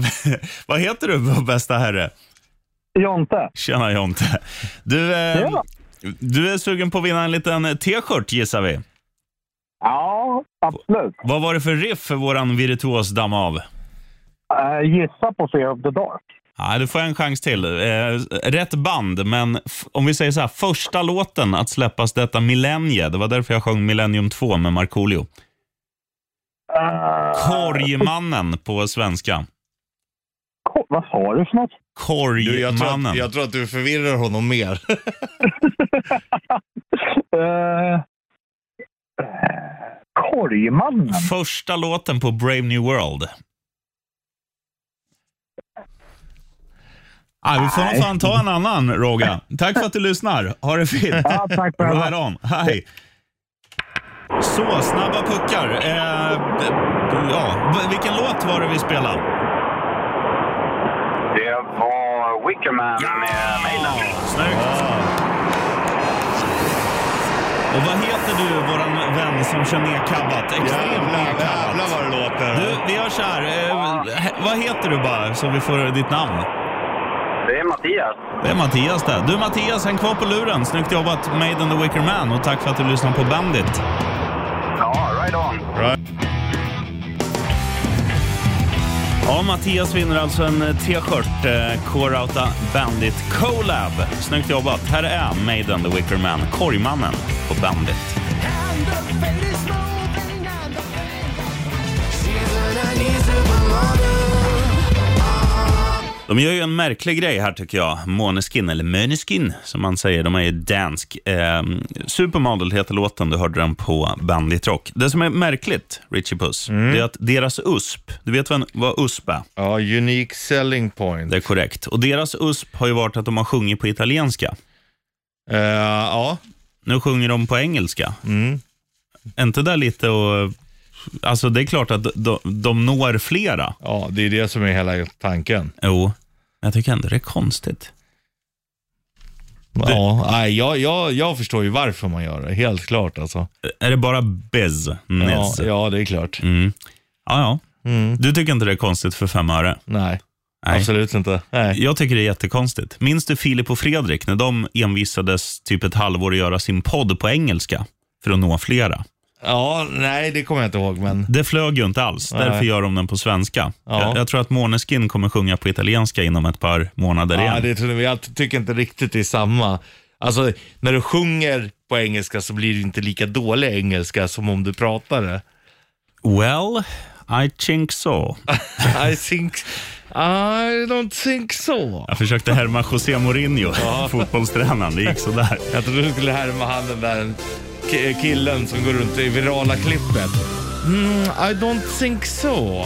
Speaker 2: vad heter du, vår bästa herre?
Speaker 7: Jonte.
Speaker 2: Tjena Jonte. Du, eh,
Speaker 7: Tjena.
Speaker 2: du är sugen på att vinna en liten t-shirt gissar vi.
Speaker 7: Ja, absolut.
Speaker 2: Vad var det för riff för våran virtuos damm av?
Speaker 7: Eh, gissa på Fear of the Dark.
Speaker 2: Ja, du får en chans till. Eh, rätt band, men f- om vi säger så här, första låten att släppas detta millennie. Det var därför jag sjöng Millennium 2 med Markoolio.
Speaker 7: Eh,
Speaker 2: Korgmannen på svenska.
Speaker 7: ko- vad sa du för något?
Speaker 3: Du, jag, tror
Speaker 2: Korgmannen.
Speaker 3: att, jag tror att du förvirrar honom mer.
Speaker 7: Uh, uh, korgmannen?
Speaker 2: Första låten på Brave New World. Ah, vi får nog fan ta en annan, Roga. Tack för att du lyssnar. Ha det fint.
Speaker 7: Ja, tack för
Speaker 2: Right
Speaker 7: det.
Speaker 2: on. Hej. Så, snabba puckar. Eh, d- ja, v- vilken låt var det vi spelade?
Speaker 8: Det var Wickerman med mailen.
Speaker 2: Snyggt. Och vad heter du, våran vän som kör ner kabbat? Extremt ner
Speaker 3: Jävlar, jävlar
Speaker 2: kabbat.
Speaker 3: vad det låter.
Speaker 2: Du, vi gör så här. Eh, he- vad heter du bara, så vi får ditt namn?
Speaker 8: Det är Mattias.
Speaker 2: Det är Mattias där. Du Mattias, häng kvar på luren. Snyggt jobbat, Made in the Wicker Man. Och tack för att du lyssnar på Bandit.
Speaker 8: Ja, right on.
Speaker 2: Ja, Mattias vinner alltså en eh, t-shirt. Eh, K-Rauta Bandit Colab. Snyggt jobbat. Här är Made in the Wicker Man, korgmannen på Bandit. De gör ju en märklig grej här tycker jag. Måneskin, eller Möneskin som man säger. De är ju dansk. Eh, Supermodel heter låten, du hörde den på Bandit Rock. Det som är märkligt, Richie Puss, det är att deras USP, du vet vad, en, vad USP är?
Speaker 3: Ja, unique selling point.
Speaker 2: Det är korrekt. Och deras USP har ju varit att de har sjungit på italienska.
Speaker 3: Eh, ja,
Speaker 2: Nu sjunger de på engelska. Är inte det lite och... Alltså det är klart att de, de når flera.
Speaker 3: ja, det är det som är hela tanken.
Speaker 2: Jo, men jag tycker ändå det är konstigt.
Speaker 3: Ja, nej, jag, jag, jag förstår ju varför man gör det, helt klart alltså.
Speaker 2: Är det bara bez?
Speaker 3: Ja,
Speaker 2: Nes? Ja,
Speaker 3: ja det är klart.
Speaker 2: ja.
Speaker 3: Mm.
Speaker 2: Du tycker inte det är konstigt för fem öre?
Speaker 3: Nej,
Speaker 2: Nej.
Speaker 3: absolut inte. Nej.
Speaker 2: Jag tycker det är jättekonstigt. Minns du Filip och Fredrik när de envisades typ ett halvår att göra sin podd på engelska för att nå flera?
Speaker 3: Ja, nej, det kommer jag inte ihåg, men
Speaker 2: Det flög ju inte alls. Därför gör de den på svenska.
Speaker 3: Ja.
Speaker 2: Jag, jag tror att Måneskin kommer sjunga på italienska inom ett par månader
Speaker 3: ja,
Speaker 2: igen.
Speaker 3: det tror jag, jag tycker inte riktigt det är samma. Alltså, när du sjunger på engelska så blir det inte lika dålig engelska som om du pratar det.
Speaker 2: Well, I think so.
Speaker 3: I think, I don't think so.
Speaker 2: Jag försökte härma José Mourinho, fotbollstränaren. Det gick sådär.
Speaker 3: Jag trodde du skulle härma han den där ki- killen som går runt i virala klippet. Mm, I don't think so.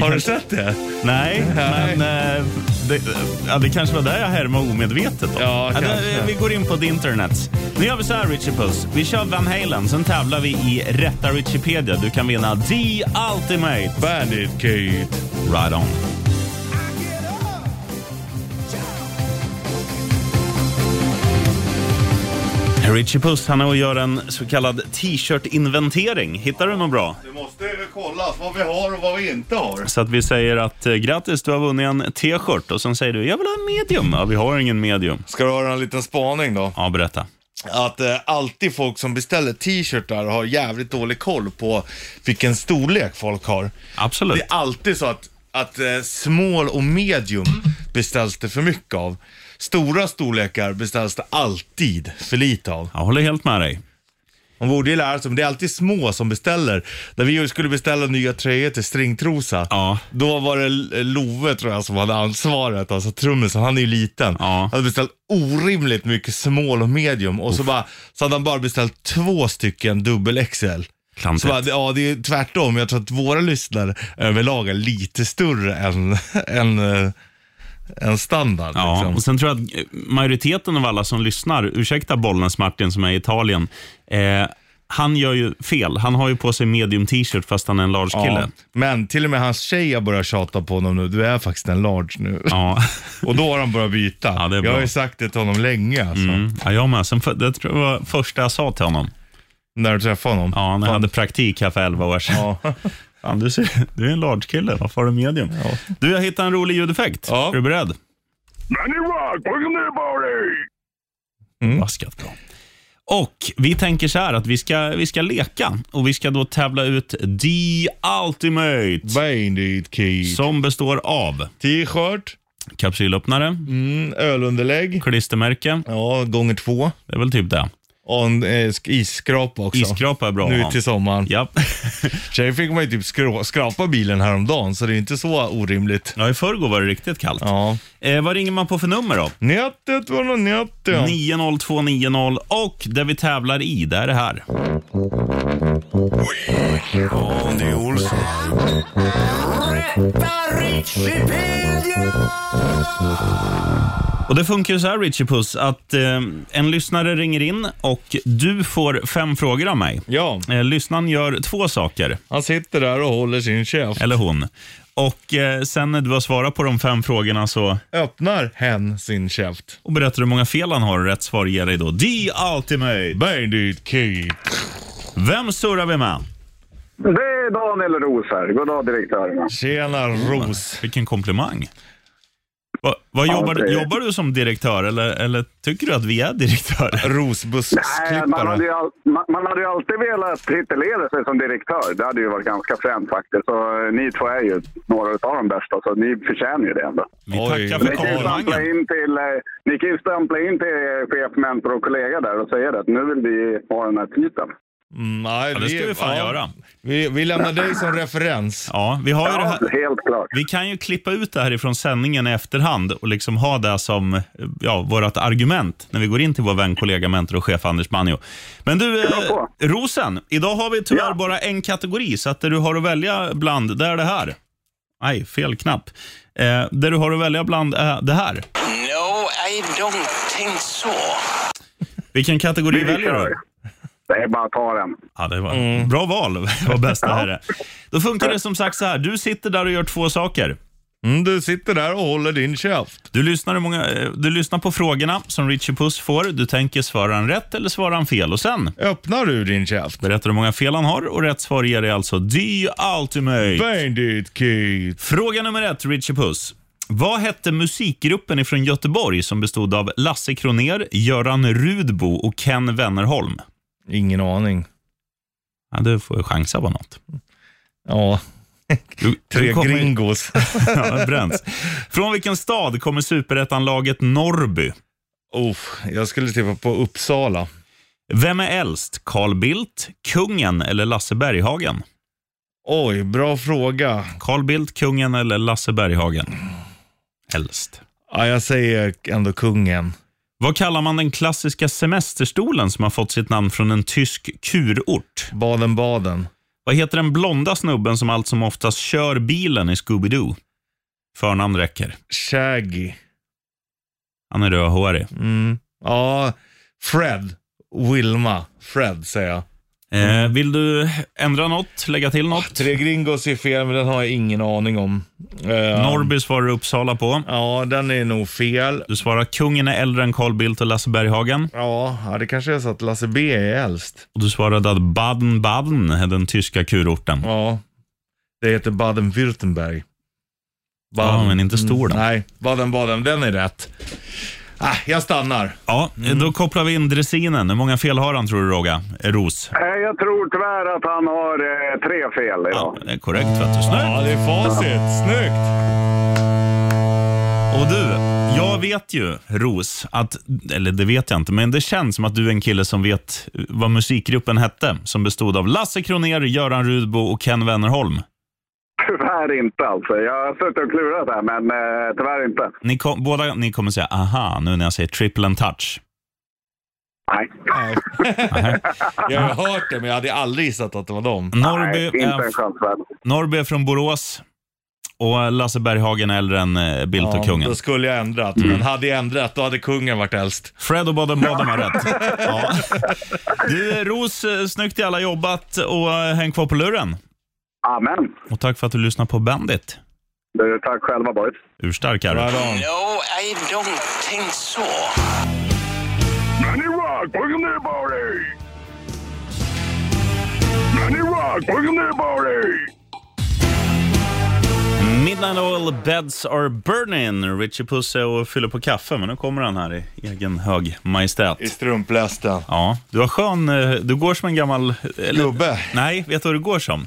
Speaker 3: Har du sett det?
Speaker 2: Nej,
Speaker 3: Nej.
Speaker 2: men eh, det, ja, det kanske var där jag härmade omedvetet. Då.
Speaker 3: Ja,
Speaker 2: det-
Speaker 3: kanske.
Speaker 2: vi går in på the internet. Nu gör vi så här, Richie Puss. Vi kör Van Halen, sen tävlar vi i rätta Wikipedia. Du kan vinna The Ultimate.
Speaker 3: Bandit Kate.
Speaker 2: Right on. Richie Puss han är och gör en så kallad t-shirt-inventering. Hittar du något bra?
Speaker 9: Det måste ju kollas vad vi har och vad vi inte har.
Speaker 2: Så att vi säger att eh, grattis, du har vunnit en t-shirt och sen säger du jag vill ha en medium. Ja, vi har ingen medium.
Speaker 3: Ska du höra en liten spaning då?
Speaker 2: Ja, berätta.
Speaker 3: Att eh, alltid folk som beställer t-shirtar har jävligt dålig koll på vilken storlek folk har.
Speaker 2: Absolut.
Speaker 3: Det är alltid så att, att eh, small och medium beställs det för mycket av. Stora storlekar beställs det alltid för lite av.
Speaker 2: Jag håller helt med dig.
Speaker 3: Man borde ju lära sig, men det är alltid små som beställer. När vi skulle beställa nya tröjor till stringtrosa,
Speaker 2: Ja.
Speaker 3: då var det L- Love tror jag som hade ansvaret, alltså trummisen, han är ju liten.
Speaker 2: Ja.
Speaker 3: Han hade beställt orimligt mycket small och medium och så, bara, så hade han bara beställt två stycken dubbel XL. Så
Speaker 2: Klantigt.
Speaker 3: bara, ja, det är ju tvärtom. Jag tror att våra lyssnare överlag är lite större än, än, eh, än standard.
Speaker 2: Ja,
Speaker 3: liksom.
Speaker 2: och sen tror jag att eh, majoriteten av alla som lyssnar, ursäkta Bollnäs Martin som är i Italien, eh, han gör ju fel. Han har ju på sig medium t-shirt fast han är en large kille.
Speaker 3: Men till och med hans tjej har börjat tjata på honom nu. Du är faktiskt en large nu.
Speaker 2: Ja.
Speaker 3: Och då har han börjat byta.
Speaker 2: Ja, det är
Speaker 3: jag har
Speaker 2: bra.
Speaker 3: ju sagt det till honom länge alltså.
Speaker 2: Mm. ja, jag med. Sen för, det tror jag var första jag sa till honom.
Speaker 3: När du träffade honom.
Speaker 2: Ja, när jag hade praktik här för 11 år sedan.
Speaker 3: Ja.
Speaker 2: Fan, du, ser, du är en large kille. Varför har du medium? Du, jag hittade en rolig ljudeffekt.
Speaker 3: Ja.
Speaker 2: Är du beredd?
Speaker 5: Nanny Rock, welcome to the party!
Speaker 2: Vaskat bra. Mm. Och vi tänker så här att vi ska, vi ska leka och vi ska då tävla ut The Ultimate
Speaker 3: Bandit Kid.
Speaker 2: som består av
Speaker 3: T-shirt,
Speaker 2: kapsylöppnare,
Speaker 3: mm, ölunderlägg.
Speaker 2: klistermärke,
Speaker 3: Ja, gånger två.
Speaker 2: det är väl typ det.
Speaker 3: Och en eh, sk- isskrapa också.
Speaker 2: Isskrapa är bra att
Speaker 3: Nu
Speaker 2: ha.
Speaker 3: till sommaren.
Speaker 2: Ja.
Speaker 3: Sen fick man ju typ skra- skrapa bilen häromdagen, så det är ju inte så orimligt.
Speaker 2: ja, i förrgår var det riktigt kallt.
Speaker 3: Ja.
Speaker 2: Eh, vad ringer man på för nummer då?
Speaker 3: Nätet var nog nätet.
Speaker 2: 90290 och det vi tävlar i, det är det här. Och Det funkar ju så här, Richie Puss, att eh, en lyssnare ringer in och du får fem frågor av mig.
Speaker 3: Ja.
Speaker 2: Eh, lyssnaren gör två saker.
Speaker 3: Han sitter där och håller sin käft.
Speaker 2: Eller hon. Och eh, sen när du har svarat på de fem frågorna så
Speaker 3: Öppnar hen sin käft.
Speaker 2: och berättar hur många fel han har och rätt svar ger dig då The Ultimate.
Speaker 3: Bandit Kid.
Speaker 2: Vem surrar vi med?
Speaker 8: Det är Daniel Roos här. God dag direktörerna.
Speaker 3: Tjena Ros.
Speaker 2: Vilken komplimang. Va, vad jobbar,
Speaker 8: det-
Speaker 2: du- jobbar du som direktör eller, eller tycker du att vi är direktörer?
Speaker 8: Nej, Man hade, ju
Speaker 3: Rosbussklippare.
Speaker 8: all, man, man hade ju alltid velat titulera sig som direktör. Det hade ju varit ganska fränt faktiskt. Så eh, ni två är ju några av de bästa, så ni förtjänar ju det ändå.
Speaker 2: Vi
Speaker 3: Oj.
Speaker 2: tackar
Speaker 8: Ni
Speaker 2: för
Speaker 8: kan ju stämpla
Speaker 2: komplimangen.
Speaker 8: in till, eh, ni kan ju stämpla in till er chef, mentor och kollega där och säga det att nu vill vi ha den här titeln.
Speaker 3: Mm, nej,
Speaker 2: Ja, det ska vi fan göra.
Speaker 3: Vi, vi lämnar dig som referens.
Speaker 2: Ja, vi, har ju det
Speaker 8: Ja,
Speaker 2: här,
Speaker 8: helt klart.
Speaker 2: vi kan ju klippa ut det här ifrån sändningen i efterhand och liksom ha det som ja, vårt argument när vi går in till vår vän, kollega, mentor och chef Anders Manjo. Men du, eh,
Speaker 8: Kör på.
Speaker 2: Rosen, idag har vi tyvärr
Speaker 8: Ja.
Speaker 2: bara en kategori, så att det du har att välja bland, det är det här. Nej, fel knapp. Eh, det du har att välja bland är det här.
Speaker 10: No, I don't think so.
Speaker 2: Vilken kategori väljer du?
Speaker 8: Det är bara att ta den.
Speaker 2: Ja, det var Bra val, Det var bästa herre. Då funkar det som sagt så här. Du sitter där och gör två saker.
Speaker 3: Mm, du sitter där och håller din käft.
Speaker 2: Du lyssnar, hur många, eh, du lyssnar på frågorna som Richie Puss får. Du tänker, svarar han rätt eller svarar han fel? Och sen
Speaker 3: Öppnar du din käft?
Speaker 2: berättar du hur många fel han har och rätt svar ger dig alltså The Ultimate.
Speaker 3: Bandit Kid.
Speaker 2: Fråga nummer ett, Richie Puss. Vad hette musikgruppen ifrån Göteborg som bestod av Lasse Kroner, Göran Rudbo och Ken Wennerholm?
Speaker 3: Ingen aning.
Speaker 2: Ja, du får chansa på något.
Speaker 3: Ja,
Speaker 2: Du,
Speaker 3: tre
Speaker 2: du kommer-
Speaker 3: gringos.
Speaker 2: Ja, bränns. Från vilken stad kommer superettan-laget Norrby?
Speaker 3: Uff, jag skulle tippa på Uppsala.
Speaker 2: Vem är äldst? Carl Bildt, kungen eller Lasse Berghagen?
Speaker 3: Oj, bra fråga.
Speaker 2: Carl Bildt, kungen eller Lasse Berghagen? Äldst.
Speaker 3: Ja, jag säger ändå kungen.
Speaker 2: Vad kallar man den klassiska semesterstolen som har fått sitt namn från en tysk kurort?
Speaker 3: Baden-Baden.
Speaker 2: Vad heter den blonda snubben som allt som oftast kör bilen i Scooby-Doo? Förnamn räcker.
Speaker 3: Shaggy.
Speaker 2: Han är rödhårig.
Speaker 3: Mm. Ja, Fred. Wilma. Fred säger jag.
Speaker 2: Eh, vill du ändra något? Lägga till något?
Speaker 3: Tre gringos är fel, men den har jag ingen aning om. Eh,
Speaker 2: Norrby svarar Uppsala på.
Speaker 3: Ja, den är nog fel.
Speaker 2: Du svarar kungen är äldre än Carl Bildt och Lasse Berghagen.
Speaker 3: Ja, ja, det kanske är så att Lasse B är äldst.
Speaker 2: Och du svarade att Baden-Baden är den tyska kurorten.
Speaker 3: Ja. Det heter Baden-Württemberg.
Speaker 2: Ja, men inte stor då.
Speaker 3: Mm, nej, Baden-Baden, den är rätt. Ah, jag stannar.
Speaker 2: Ja, då kopplar vi in dressinen. Hur många fel har han tror du, Roga? Eh, Ros?
Speaker 8: Eh, Jag tror tyvärr att han har eh, tre fel
Speaker 2: Ja,
Speaker 8: idag.
Speaker 2: det är korrekt. Vet du. Snyggt.
Speaker 3: Ja, det är facit. Snyggt!
Speaker 2: Och du, jag vet ju, Ros, att, eller det vet jag inte, men det känns som att du är en kille som vet vad musikgruppen hette, som bestod av Lasse Kroner, Göran Rudbo och Ken Wennerholm.
Speaker 8: Tyvärr inte alltså. Jag har suttit och klurat här, men eh, tyvärr inte.
Speaker 2: Ni kom, båda ni kommer säga aha nu när jag säger triple and touch.
Speaker 8: Nej.
Speaker 3: Jag har hört det, men jag hade aldrig gissat att det var dem.
Speaker 2: Norrby
Speaker 8: Nej, inte
Speaker 2: är
Speaker 8: en chans värd.
Speaker 2: Norrby är från Borås och Lasse Berghagen är äldre än eh, Bildt och kungen.
Speaker 3: Då skulle jag ändrat, men hade jag ändrat då hade kungen varit äldst.
Speaker 2: Fred och Baden Baden har rätt. Ja. Du, Ros, eh, snyggt jävla jobbat och eh, häng kvar på luren.
Speaker 8: Amen.
Speaker 2: Och tack för att du lyssnar på Bandit.
Speaker 8: Du, tack själva boys.
Speaker 2: Urstark är
Speaker 3: Bra
Speaker 2: du.
Speaker 3: dag.
Speaker 10: No, I don't think so.
Speaker 8: Money Rock, welcome to the party! Money Rock, welcome to the party!
Speaker 2: Midnight Oil Beds Are Burning. Richie Puss är och fyller på kaffe, men nu kommer han här i egen hög majestät.
Speaker 3: I strumplästen.
Speaker 2: Ja, du har skön... eh, Du går som en gammal... eller-
Speaker 3: Gubbe.
Speaker 2: Nej, vet du vad du går som?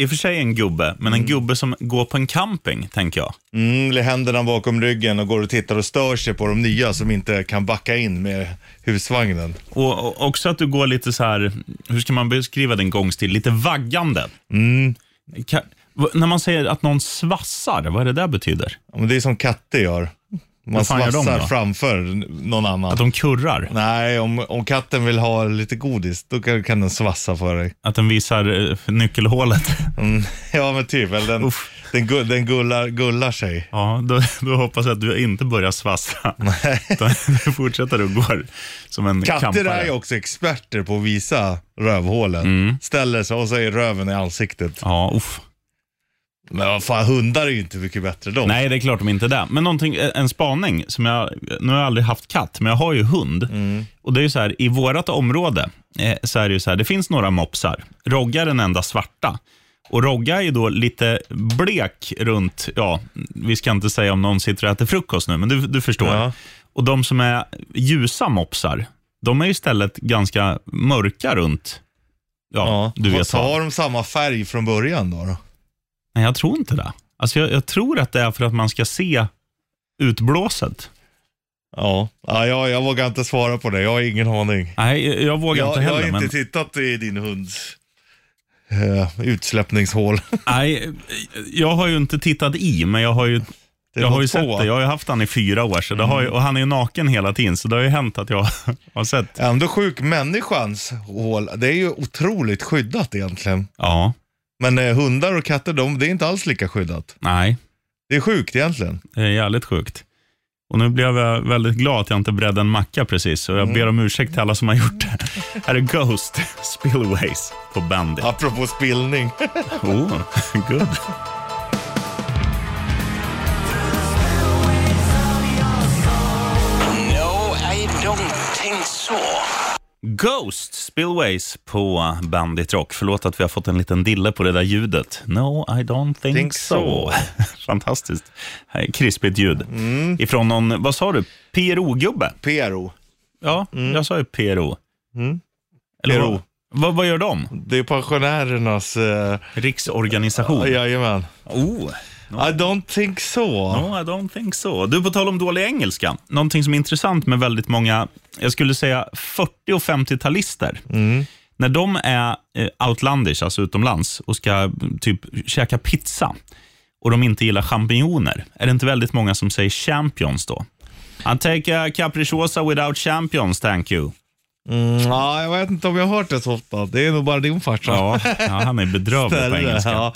Speaker 2: I och för sig en gubbe, men en gubbe som går på en camping, tänker jag.
Speaker 3: Mm, eller händerna bakom ryggen och går och tittar och stör sig på de nya som inte kan backa in med husvagnen.
Speaker 2: Och, och också att du går lite så här, hur ska man beskriva din gångstil? Lite vaggande.
Speaker 3: Mm.
Speaker 2: Ka- v- när man säger att någon svassar, vad är det där betyder?
Speaker 3: Ja, men Det är som katter gör. Man
Speaker 2: fan gör de
Speaker 3: svassar
Speaker 2: då?
Speaker 3: framför n- någon annan.
Speaker 2: Att de kurrar?
Speaker 3: Nej, om, om katten vill ha lite godis, då kan, kan den svassa för dig.
Speaker 2: Att den visar eh, nyckelhålet?
Speaker 3: Mm. Ja, men typ. Eller den, den, gu- den gullar, gullar sig.
Speaker 2: Ja, då, då hoppas jag att du inte börjar svassa. Utan du fortsätter och går som en
Speaker 3: Katter
Speaker 2: kampare.
Speaker 3: är ju också experter på att visa rövhålen.
Speaker 2: Mm.
Speaker 3: Ställer sig och säger röven i ansiktet.
Speaker 2: Ja, uff.
Speaker 3: Men vad fan, hundar är ju inte mycket bättre de.
Speaker 2: Nej, det är klart de inte är det. Men någonting, eh, en spaning som jag, nu har jag aldrig haft katt, men jag har ju hund.
Speaker 3: Mm.
Speaker 2: Och det är ju så här, i vårat område eh, så är det ju så här, det finns några mopsar. Rogga är den enda svarta. Och Rogga är ju då lite blek runt, ja, vi ska inte säga om någon sitter och äter frukost nu, men du, du förstår.
Speaker 3: Ja.
Speaker 2: Och de som är ljusa mopsar, de är ju istället ganska mörka runt, ja,
Speaker 3: Ja.
Speaker 2: du vet.
Speaker 3: så
Speaker 2: vad.
Speaker 3: har de samma färg från början då? då?
Speaker 2: Nej, jag tror inte det. Alltså, jag, jag tror att det är för att man ska se utblåset.
Speaker 3: Ja, ja jag, jag vågar inte svara på det. Jag har ingen aning.
Speaker 2: Nej, jag- jag vågar
Speaker 3: Jag,
Speaker 2: inte
Speaker 3: jag
Speaker 2: heller.
Speaker 3: har inte
Speaker 2: men,
Speaker 3: tittat i din hunds eh, utsläppningshål.
Speaker 2: nej, jag har ju inte tittat i, men jag har ju,
Speaker 3: är
Speaker 2: jag har ju
Speaker 3: på två. Mm.
Speaker 2: sett det. Jag har ju haft han i fyra år, så det har ju, och han är ju naken hela tiden, så det har ju hänt att jag har sett.
Speaker 3: Ändå sjuk, människans hål, det är ju otroligt skyddat egentligen.
Speaker 2: Ja,
Speaker 3: Men eh, hundar och katter, de, det är inte alls lika skyddat.
Speaker 2: nej,
Speaker 3: Det är sjukt egentligen.
Speaker 2: det är jävligt sjukt. Och nu blev jag väldigt glad att jag inte bredde en macka precis, och
Speaker 3: Mm.
Speaker 2: jag ber om ursäkt till alla som har gjort det. Här är Ghost, Spillways på Bandit.
Speaker 3: Apropå spillning.
Speaker 2: Oh, good.
Speaker 10: No, I don't think so.
Speaker 2: Ghost Spillways på Bandit Rock. Förlåt att vi har fått en liten dille på det där ljudet. No, I don't think,
Speaker 3: Think
Speaker 2: so. Fantastiskt. Här är Krispigt ljud. Ifrån någon, vad sa du, PRO-gubbe?
Speaker 3: PRO.
Speaker 2: Ja, jag sa ju PRO. Eller
Speaker 3: PRO.
Speaker 2: vad- Vad, vad gör de?
Speaker 3: Det är pensionärernas... Eh,
Speaker 2: Riksorganisation?
Speaker 3: jajamän.
Speaker 2: Oh.
Speaker 3: I don't think so.
Speaker 2: No, I don't think so. Du, på tal om dålig engelska. Någonting som är intressant med väldigt många, jag skulle säga 40 och 50-talister. När de är eh, outlandish, alltså utomlands, och ska mm, typ käka pizza och de inte gillar champinjoner, är det inte väldigt många som säger champions då? I'll take a capricciosa without champions, thank you.
Speaker 3: Mm, ja, jag vet inte om jag har hört det så ofta. Det är nog bara din farsa.
Speaker 2: Ja, ja han är bedrövlig på
Speaker 3: Ställe,
Speaker 2: engelska.
Speaker 3: Ja.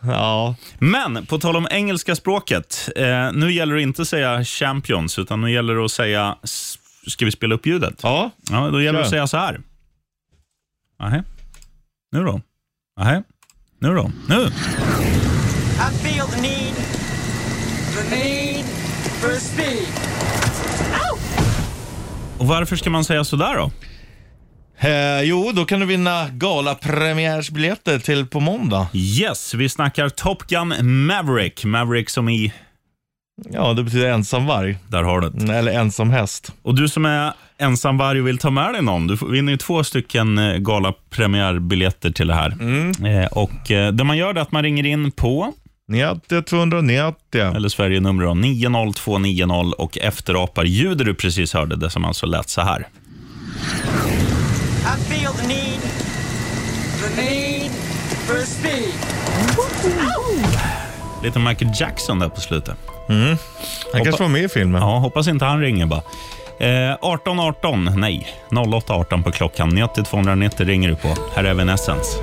Speaker 3: ja.
Speaker 2: Men på tal om engelska språket. Eh, nu gäller det inte att säga champions, utan nu gäller det att säga... s- Ska vi spela upp ljudet?
Speaker 3: ja.
Speaker 2: Ja, då gäller det att
Speaker 3: Kör.
Speaker 2: säga så här. Nähä. Nu då? Nähä. Nu då? Nu?
Speaker 6: I feel the need, the need for speed.
Speaker 2: Och varför ska man säga så där då?
Speaker 3: Eh, jo, då kan du vinna galapremiärsbiljetter till på måndag.
Speaker 2: Yes, vi snackar Top Gun Maverick. Maverick som i...
Speaker 3: Ja, det betyder ensam varg.
Speaker 2: Där har du det.
Speaker 3: Mm, Eller ensam häst.
Speaker 2: Och du som är ensamvarg och vill ta med dig någon, du får- vinner ju två stycken eh, galapremiärbiljetter till det här. Eh, och eh, Det man gör det är att man ringer in på
Speaker 3: 90 290.
Speaker 2: eller Sverige-nummer då, 90290 och efterapar ljudet du precis hörde, det som alltså lät så här.
Speaker 6: I feel the need, the need for speed.
Speaker 2: Lite Michael Jackson där på slutet.
Speaker 3: Han kanske var med i filmen.
Speaker 2: Ja, hoppas inte han ringer bara. Eh, 18 18, nej, 08 18 på klockan. 90 290 ringer du på. Här är Evanescence.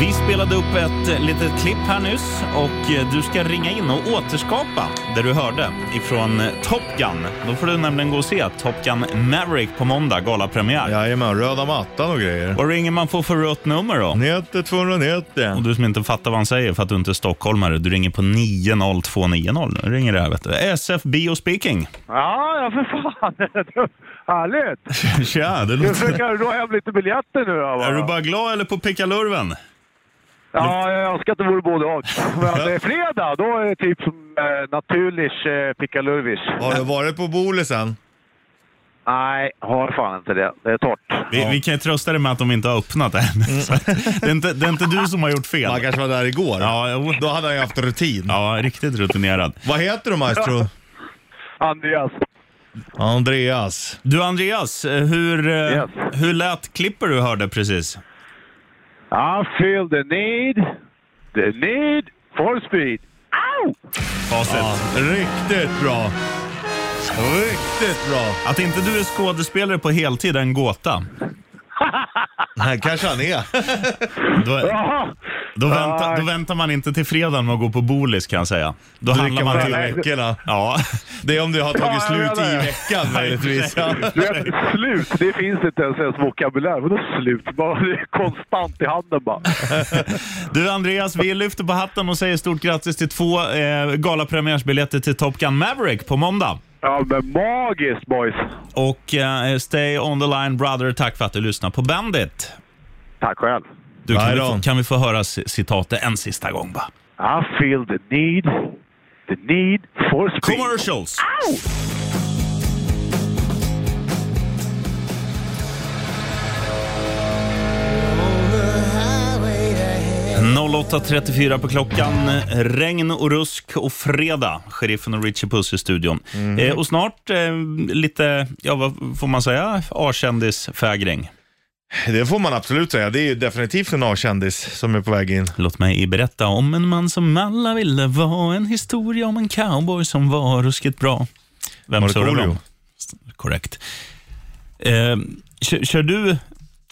Speaker 2: Vi spelade upp ett litet klipp här nyss och eh, du ska ringa in och återskapa det du hörde ifrån eh, Top Gun. Då får du nämligen gå och se Top Gun Maverick på måndag, galapremiär.
Speaker 3: Jajamän, röda mattan och grejer.
Speaker 2: Vad ringer man får för rött nummer då?
Speaker 3: 90 290.
Speaker 2: Och du som inte fattar vad han säger för att du inte är stockholmare, du ringer på 90290. Nu ringer det här vet du. SF Bio speaking.
Speaker 5: Ja, ja för fan. Härligt!
Speaker 2: Tja, det
Speaker 5: Nu försöker jag hem lite biljetter nu då,
Speaker 2: Är du
Speaker 5: va?
Speaker 2: bara glad eller på pickalurven?
Speaker 5: Ja, jag önskar att det vore både och. Men eh, fredag, då är det typ som eh, naturlig eh, pickalurvis.
Speaker 3: Har du varit på Bolisen?
Speaker 5: Nej, har fan inte det. Det är torrt.
Speaker 2: Vi, vi kan ju trösta dig med att de inte har öppnat än. Så att Det är, inte, det är inte du som har gjort
Speaker 3: Han
Speaker 2: fel.
Speaker 3: Mm. kanske var där igår.
Speaker 2: Ja, jo.
Speaker 3: Då hade han ju haft rutin.
Speaker 2: ja riktigt rutinerad.
Speaker 3: Vad heter du maestro?
Speaker 5: Andreas.
Speaker 3: Andreas.
Speaker 2: Du Andreas, eh, hur, eh,
Speaker 5: Yes.
Speaker 2: hur lät klipper du hörde precis?
Speaker 5: I feel the need, the need for speed.
Speaker 2: Facit.
Speaker 3: riktigt bra. Riktigt bra.
Speaker 2: Att inte du är skådespelare på heltid är en gåta.
Speaker 3: Nej, kanske han är.
Speaker 2: Då, då, väntar, då väntar man inte till fredagen med att gå på bolis kan jag säga. Då handlar man till
Speaker 3: hela veckorna.
Speaker 2: Ja,
Speaker 3: Det är om det har tagit
Speaker 5: Ja, jag
Speaker 3: slut
Speaker 5: menar
Speaker 3: i
Speaker 5: det.
Speaker 3: veckan möjligtvis. Ja.
Speaker 5: Du vet, slut, det finns inte ens ens vokabulär. Vadå slut? Bara, det är konstant i handen bara.
Speaker 2: Du Andreas, vi lyfter på hatten och säger stort grattis till två eh, galapremiärsbiljetter till Top Gun Maverick på måndag.
Speaker 5: Ja, men magiskt boys!
Speaker 2: Och eh, stay on the line brother, tack för att du lyssnar på Bandit.
Speaker 5: Tack själv.
Speaker 2: Du, kan,
Speaker 3: Nej
Speaker 2: vi
Speaker 3: då.
Speaker 2: få, kan vi få höra c- citatet en sista gång bara?
Speaker 5: I feel the need, the need for speed.
Speaker 2: Commercials! Ow! 08.34 på klockan. Regn och rusk och fredag. Sheriffen och Richie Puss i studion. Eh, och snart eh, lite, ja vad får man säga, A-kändis-fägring.
Speaker 3: Det får man absolut säga. Det är ju definitivt en A-kändis som är på väg in.
Speaker 2: Låt mig berätta om en man som alla ville vara. En historia om en cowboy som var ruskigt bra. Vem
Speaker 3: Markoolio.
Speaker 2: surrar vi om? Korrekt. Eh, kör, kör du,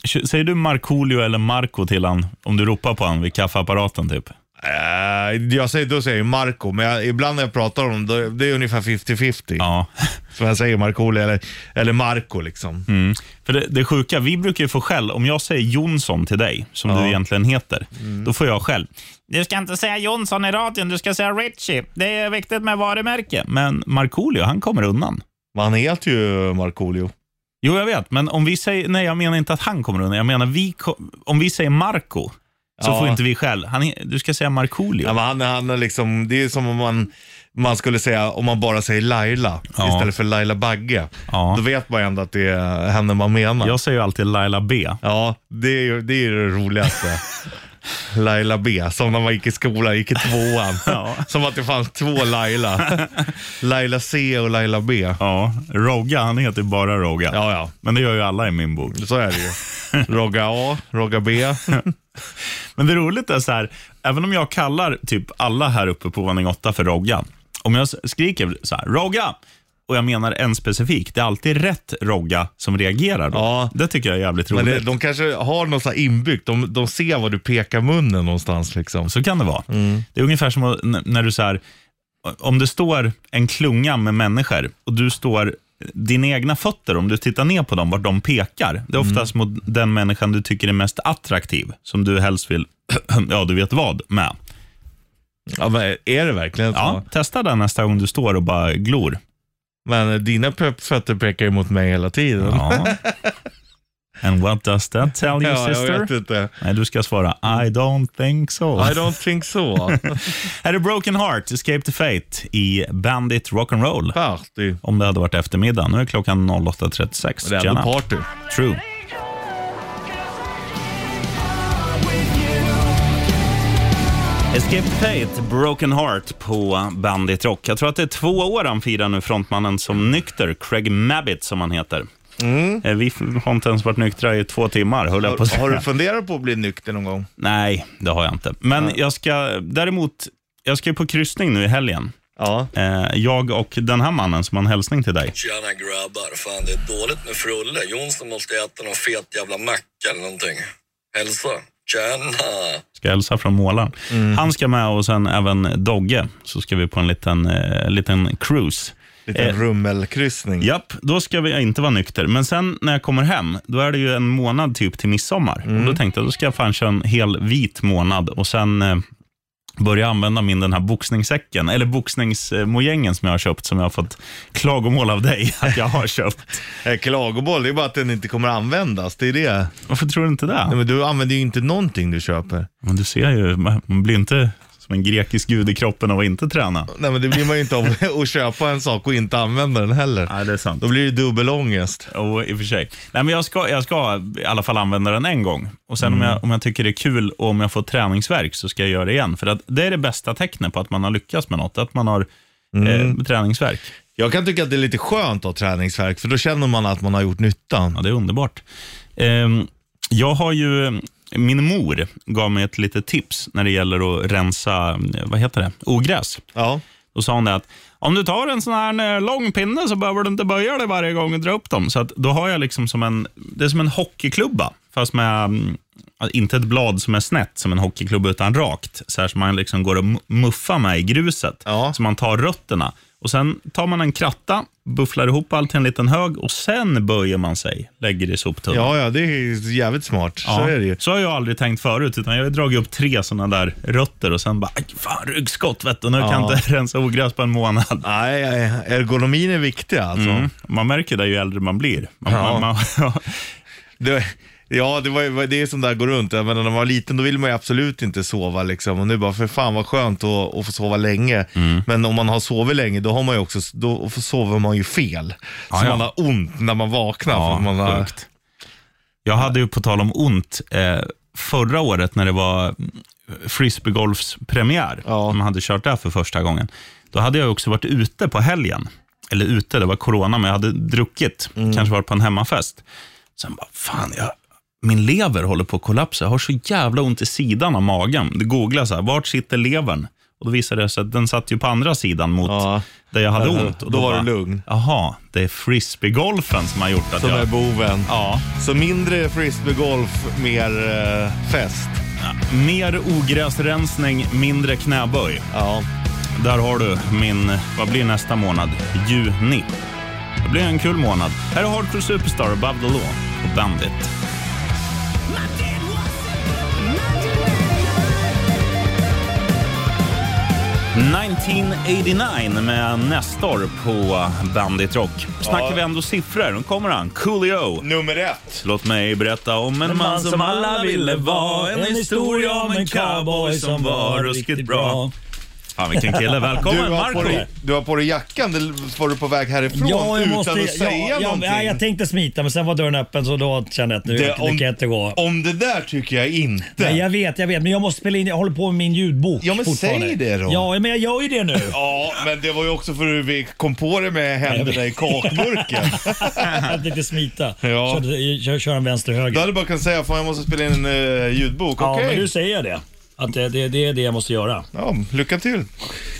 Speaker 2: kör, säger du Markoolio eller Marco till han om du ropar på han vid kaffeapparaten typ?
Speaker 3: Eh, jag säger, då säger jag Marco, men jag, ibland när jag pratar om honom, då- det är ungefär 50-50.
Speaker 2: Ja.
Speaker 3: Så jag säger Markoolio eller, eller Marco liksom.
Speaker 2: Mm. För det, det sjuka, vi brukar ju få skäll. Om jag säger Jonsson till dig, som du egentligen heter, då får jag skäll. Du ska inte säga Jonsson i radion, du ska säga Richie. Det är viktigt med varumärke. Men Markoolio, han kommer undan.
Speaker 3: Men han heter ju Markoolio.
Speaker 2: Jo, jag vet, men om vi säger... Nej, jag menar inte att han kommer undan. Jag menar, vi, ko- om vi säger Marco så
Speaker 3: Ja.
Speaker 2: får inte vi skäll. Han, är- du ska säga Markoolio.
Speaker 3: Ja, men han, han är liksom, det är som om man, man skulle säga, om man bara säger Laila
Speaker 2: Ja.
Speaker 3: istället för Laila Bagge.
Speaker 2: Ja.
Speaker 3: Då vet man ju ändå att det är henne man menar.
Speaker 2: Jag säger ju alltid Laila B.
Speaker 3: Ja, det är ju det, är ju det roligaste. Laila B, som när man gick i skolan, gick i tvåan.
Speaker 2: Ja.
Speaker 3: Som att det fanns två Laila. Laila C och Laila B. Ja,
Speaker 2: Ja, Rogga, han heter ju bara Rogga.
Speaker 3: ja,
Speaker 2: Men det gör ju alla i min bok.
Speaker 3: så är det ju. Rogga A, Rogga B.
Speaker 2: Men det roliga är så här, även om jag kallar typ alla här uppe på våning 8 för Rogga. Om jag s- skriker så här, Rogga! Och jag menar en specifik. Det är alltid rätt Rogga som reagerar då.
Speaker 3: Ja.
Speaker 2: Det tycker jag är jävligt
Speaker 3: Men
Speaker 2: roligt.
Speaker 3: det, de kanske har något så här inbyggt. De, de ser var du pekar munnen någonstans liksom.
Speaker 2: Så kan det vara. Det är ungefär som att- n- när du så här, om det står en klunga med människor och du står dina egna fötter, om du tittar ner på dem, vart de pekar. Det är
Speaker 3: Mm.
Speaker 2: oftast mot den människan du tycker är mest attraktiv, som du helst vill, ja du vet vad, med.
Speaker 3: Ja, men är det verkligen så?
Speaker 2: Ja, testa det nästa gång du står och bara glor.
Speaker 3: Men dina pe- fötter pekar ju mot mig hela tiden.
Speaker 2: Ja. And what does that tell you
Speaker 3: Ja, jag vet
Speaker 2: sister?
Speaker 3: inte.
Speaker 2: Nej, du ska svara I don't think so.
Speaker 3: I don't think so.
Speaker 2: Här är Broken Heart, Escape to Fate i Bandit Rock'n'Roll.
Speaker 3: Party.
Speaker 2: om det hade varit eftermiddag. Nu är klockan
Speaker 3: Det
Speaker 2: 08.36.
Speaker 3: är ändå
Speaker 2: Tjena.
Speaker 3: party.
Speaker 2: True. Escape Fate, Broken Heart på Bandit Rock. Jag tror att det är två år han firar nu, frontmannen som nykter, Craig Mabbitt som han heter. Eh, Vi har inte ens varit nyktra i två timmar, höll jag på att
Speaker 3: Mm. Har,
Speaker 2: säga.
Speaker 3: har du funderat på att bli nykter någon gång?
Speaker 2: Nej, det har jag inte. Men jag ska däremot, jag ska ju på kryssning nu i helgen.
Speaker 3: Ja.
Speaker 2: Eh, Jag och den här mannen som har en hälsning till dig.
Speaker 10: Tjena grabbar, fan det är dåligt med frulle. Jonsson måste äta någon fet jävla macka eller någonting. Hälsa. Tjena!
Speaker 2: Ska hälsa från målaren. Han ska med och sen även Dogge. Så ska vi på en liten, eh, liten cruise.
Speaker 3: Liten
Speaker 2: Eh,
Speaker 3: rummelkryssning.
Speaker 2: Japp, då ska vi inte vara nykter. Men sen när jag kommer hem, då är det ju en månad typ till midsommar. Och då tänkte jag, då ska jag fan köra en hel vit månad och sen eh, börja använda min den här boxningssäcken, eller boxningsmojängen som jag har köpt, som jag har fått klagomål av dig att jag har köpt.
Speaker 3: Eh, Klagoboll, det är bara att den inte kommer användas. Det är det.
Speaker 2: Varför tror du inte det?
Speaker 3: Nej, men du använder ju inte någonting du köper.
Speaker 2: Men du ser ju, man man blir inte som en grekisk gud i kroppen av att inte träna.
Speaker 3: Nej, men det blir man ju inte av att köpa en sak och inte använda den heller.
Speaker 2: Nej, det är sant.
Speaker 3: Då blir det dubbelångest.
Speaker 2: Jo, i och för sig. Nej, men jag, ska, jag ska i alla fall använda den en gång. Och Sen om, jag, om jag tycker det är kul och om jag får träningsverk så ska jag göra det igen. För att Det är det bästa tecknet på att man har lyckats med något, att man har eh, träningsverk.
Speaker 3: Jag kan tycka att det är lite skönt att ha träningsvärk, för då känner man att man har gjort nyttan.
Speaker 2: Ja, det är underbart. Ehm, jag har ju Min mor gav mig ett litet tips när det gäller att rensa vad heter det? ogräs.
Speaker 3: Ja.
Speaker 2: Då sa hon det att om du tar en sån här eh, lång pinne så behöver du inte böja dig varje gång och dra upp dem. Så att då har jag liksom som en, det är som en hockeyklubba, fast med mm, inte ett blad som är snett som en hockeyklubba, utan rakt. Så här som man liksom går och mu- muffar med i gruset. Så man tar rötterna. Och Sen tar man en kratta, bufflar ihop allt till en liten hög och sen böjer man sig, lägger det i soptunnan.
Speaker 3: Ja, ja, det är jävligt smart. Så
Speaker 2: Ja,
Speaker 3: är det ju.
Speaker 2: så har jag aldrig tänkt förut, utan jag har dragit upp tre sådana där rötter och sen bara, "Aj, fan ryggskott vet du, nu kan jag
Speaker 3: Ja.
Speaker 2: inte rensa ogräs på en månad.
Speaker 3: Nej, ergonomin är viktig alltså.
Speaker 2: Mm. Man märker det ju äldre man blir. Man,
Speaker 3: Ja.
Speaker 2: man, man,
Speaker 3: Det, ja, det, var, ju- det är som där går runt. Jag menar, när man var liten då ville man ju absolut inte sova. Liksom. Och nu bara, för fan vad skönt att, att få sova länge.
Speaker 2: Mm.
Speaker 3: Men om man har sovit länge, då, har man ju också, då sover man ju fel.
Speaker 2: Ja,
Speaker 3: så
Speaker 2: ja.
Speaker 3: man har ont när man vaknar. för
Speaker 2: Ja,
Speaker 3: att man har,
Speaker 2: sjukt. Jag hade ju på tal om ont eh, förra året när det var mm, frisbeegolfspremiär. Ja. De hade kört där för första gången. Då hade jag också varit ute på helgen. Eller ute, det var corona, men jag hade druckit.
Speaker 3: Mm.
Speaker 2: Kanske varit på en hemmafest. Sen bara, fan, jag, min lever håller på att kollapsa. Jag har så jävla ont i sidan av magen. Det googlar så här, vart sitter levern? Och då visade det sig att den satt ju på andra sidan mot där jag hade
Speaker 3: Ja,
Speaker 2: ont. Och
Speaker 3: då var
Speaker 2: bara,
Speaker 3: du lugn.
Speaker 2: Jaha, det är frisbeegolfen som har gjort att
Speaker 3: som
Speaker 2: jag...
Speaker 3: är boven.
Speaker 2: Ja.
Speaker 3: Så mindre frisbeegolf, mer eh, fest.
Speaker 2: Ja, Mer ogräsrensning, mindre knäböj.
Speaker 3: Ja.
Speaker 2: Där har du min, vad blir nästa månad? Juni. Det blir en kul månad. Här är Hardcore Superstar, Above the Law och Bandit. ...1989 med Nestor på Bandit Rock. Snackar vi ändå siffror, nu kommer han. Coolio.
Speaker 3: Nummer ett.
Speaker 2: Låt mig berätta om en
Speaker 11: En
Speaker 2: man som alla ville vara. En historia om en cowboy som var ruskigt bra. Fan vilken kille. Välkommen
Speaker 3: du har på
Speaker 2: Marco.
Speaker 3: dig, Du har på dig jackan, eller var du på väg härifrån utan att säga
Speaker 11: ja,
Speaker 3: någonting?
Speaker 11: ja, jag tänkte smita men sen var dörren öppen så då kände jag att nu, det,
Speaker 3: Det-
Speaker 11: nu
Speaker 3: om-
Speaker 11: kan jag inte gå.
Speaker 3: Om det där tycker jag inte.
Speaker 11: Nej, jag vet, jag vet. Men jag måste spela in, jag håller på med min ljudbok
Speaker 3: Ja, men
Speaker 11: fortfarande.
Speaker 3: säg det då.
Speaker 11: Ja, men jag gör ju det nu.
Speaker 3: Ja, men det var ju också för hur vi kom på det med händerna i kakburken.
Speaker 11: jag tänkte smita.
Speaker 3: Ja.
Speaker 11: Körde- Jag kör, kör en vänster höger.
Speaker 3: Du hade bara kunnat säga, fan jag måste spela in en eh, ljudbok.
Speaker 11: Ja,
Speaker 3: Okej.
Speaker 11: men nu säger jag det. Att det, det, det är det jag måste göra.
Speaker 3: Ja, lycka till.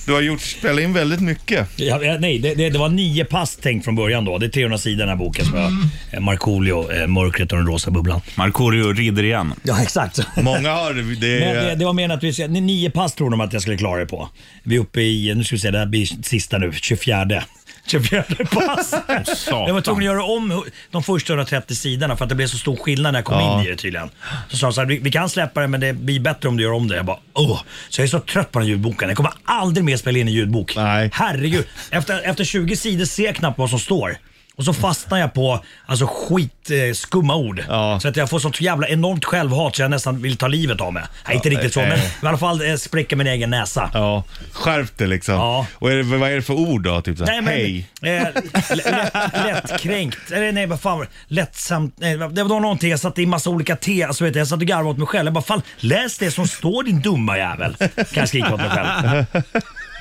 Speaker 3: Du har gjort, spelat in väldigt mycket.
Speaker 11: Jag, jag, nej, det, det, det var nio pass tänkt från början då. Det är 300 sidor den här boken som jag... eh, Markoolio, eh, Mörkret och den rosa bubblan.
Speaker 2: Markoolio rider igen.
Speaker 11: Ja, exakt.
Speaker 3: Många har det.
Speaker 11: Men det, det var mer att vi, ska- nio pass tror de att jag skulle klara det på. Vi är uppe i, nu ska vi se, det här blir sista nu, 24. 24 pass.
Speaker 2: Satan.
Speaker 11: Jag var tvungen att göra om de första 130 sidorna för att det blev så stor skillnad när jag kom
Speaker 2: Ja.
Speaker 11: in i det tydligen. Så sa de så här, vi, vi kan släppa det men det blir bättre om du gör om det. Jag bara, åh. Så jag är så trött på den här ljudboken. Jag kommer aldrig mer spela in en ljudbok. Nej. Herregud. Efter, efter 20 sidor ser jag knappt vad som står. Och så fastnar jag på alltså, skitskumma eh, skumma ord. Så att jag får sånt jävla enormt självhat så jag nästan vill ta livet av mig. Nej, inte
Speaker 3: Ja,
Speaker 11: riktigt så,
Speaker 3: eh,
Speaker 11: men
Speaker 3: eh.
Speaker 11: i alla fall eh, spräcker min egen näsa.
Speaker 3: Ja, skärp dig liksom. Och är det, vad är det för ord då? Typ så
Speaker 11: Nej,
Speaker 3: här,
Speaker 11: men,
Speaker 3: hej.
Speaker 11: Eh, lätt, lättkränkt. Eller nej, vad fan var det? Lättsamt. Nej, det var någonting jag satte i massa olika T. Alltså, vet du, jag satt och garvade åt mig själv. Jag bara, fan läs det som står din dumma jävel. Kan jag skrika åt mig själv.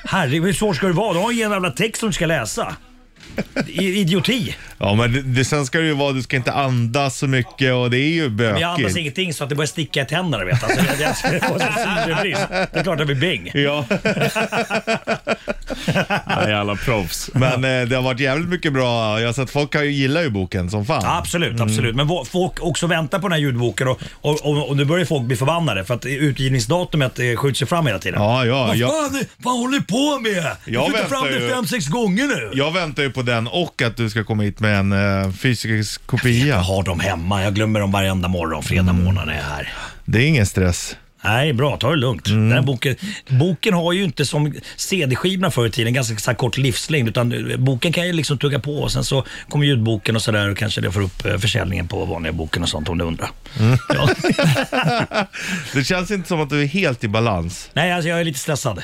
Speaker 11: Herregud, hur svårt ska det vara? Du har ju en jävla text som du ska läsa. I- Idioti.
Speaker 3: Ja, men det, det, sen ska det ju vara, du ska inte andas så mycket och det är ju
Speaker 11: Men
Speaker 3: bökigt.
Speaker 11: jag andas ingenting så att det börjar sticka i tänderna. Vet. du. Alltså, jag, jag, jag får så syrebrist. Det är klart jag blir bäng.
Speaker 3: Ja.
Speaker 2: Jävla proffs.
Speaker 3: Men eh, det har varit jävligt mycket bra. Jag har sett folk har ju gillar ju boken som fan.
Speaker 11: Absolut, absolut. Men vå- folk också väntar på den här ljudboken och, och, och, och nu börjar folk bli förbannade för att utgivningsdatumet eh, skjuts ju fram hela tiden.
Speaker 3: Ja, ja,
Speaker 11: Vad
Speaker 3: jag-
Speaker 11: fan, vad håller du på med? Du
Speaker 3: Jag
Speaker 11: flyttar
Speaker 3: väntar
Speaker 11: fram det
Speaker 3: ju.
Speaker 11: fem, sex gånger nu.
Speaker 3: Jag väntar ju på den och att du ska komma hit med en eh, fysisk kopia. Jag
Speaker 11: har dem hemma. Jag glömmer dem varenda morgon. Fredag
Speaker 3: Mm.
Speaker 11: morgon är jag här.
Speaker 3: Det är ingen stress.
Speaker 11: Nej, bra. Ta det lugnt.
Speaker 3: Mm.
Speaker 11: Den här boken, boken har ju inte som CD-skivorna förr i tiden ganska så här kort livslängd. Utan boken kan ju liksom tugga på och sen så kommer ljudboken och sådär och kanske det får upp eh, försäljningen på vanliga boken och sånt om du undrar.
Speaker 3: Mm. Det känns inte som att du är helt i balans.
Speaker 11: Nej, alltså jag är lite stressad.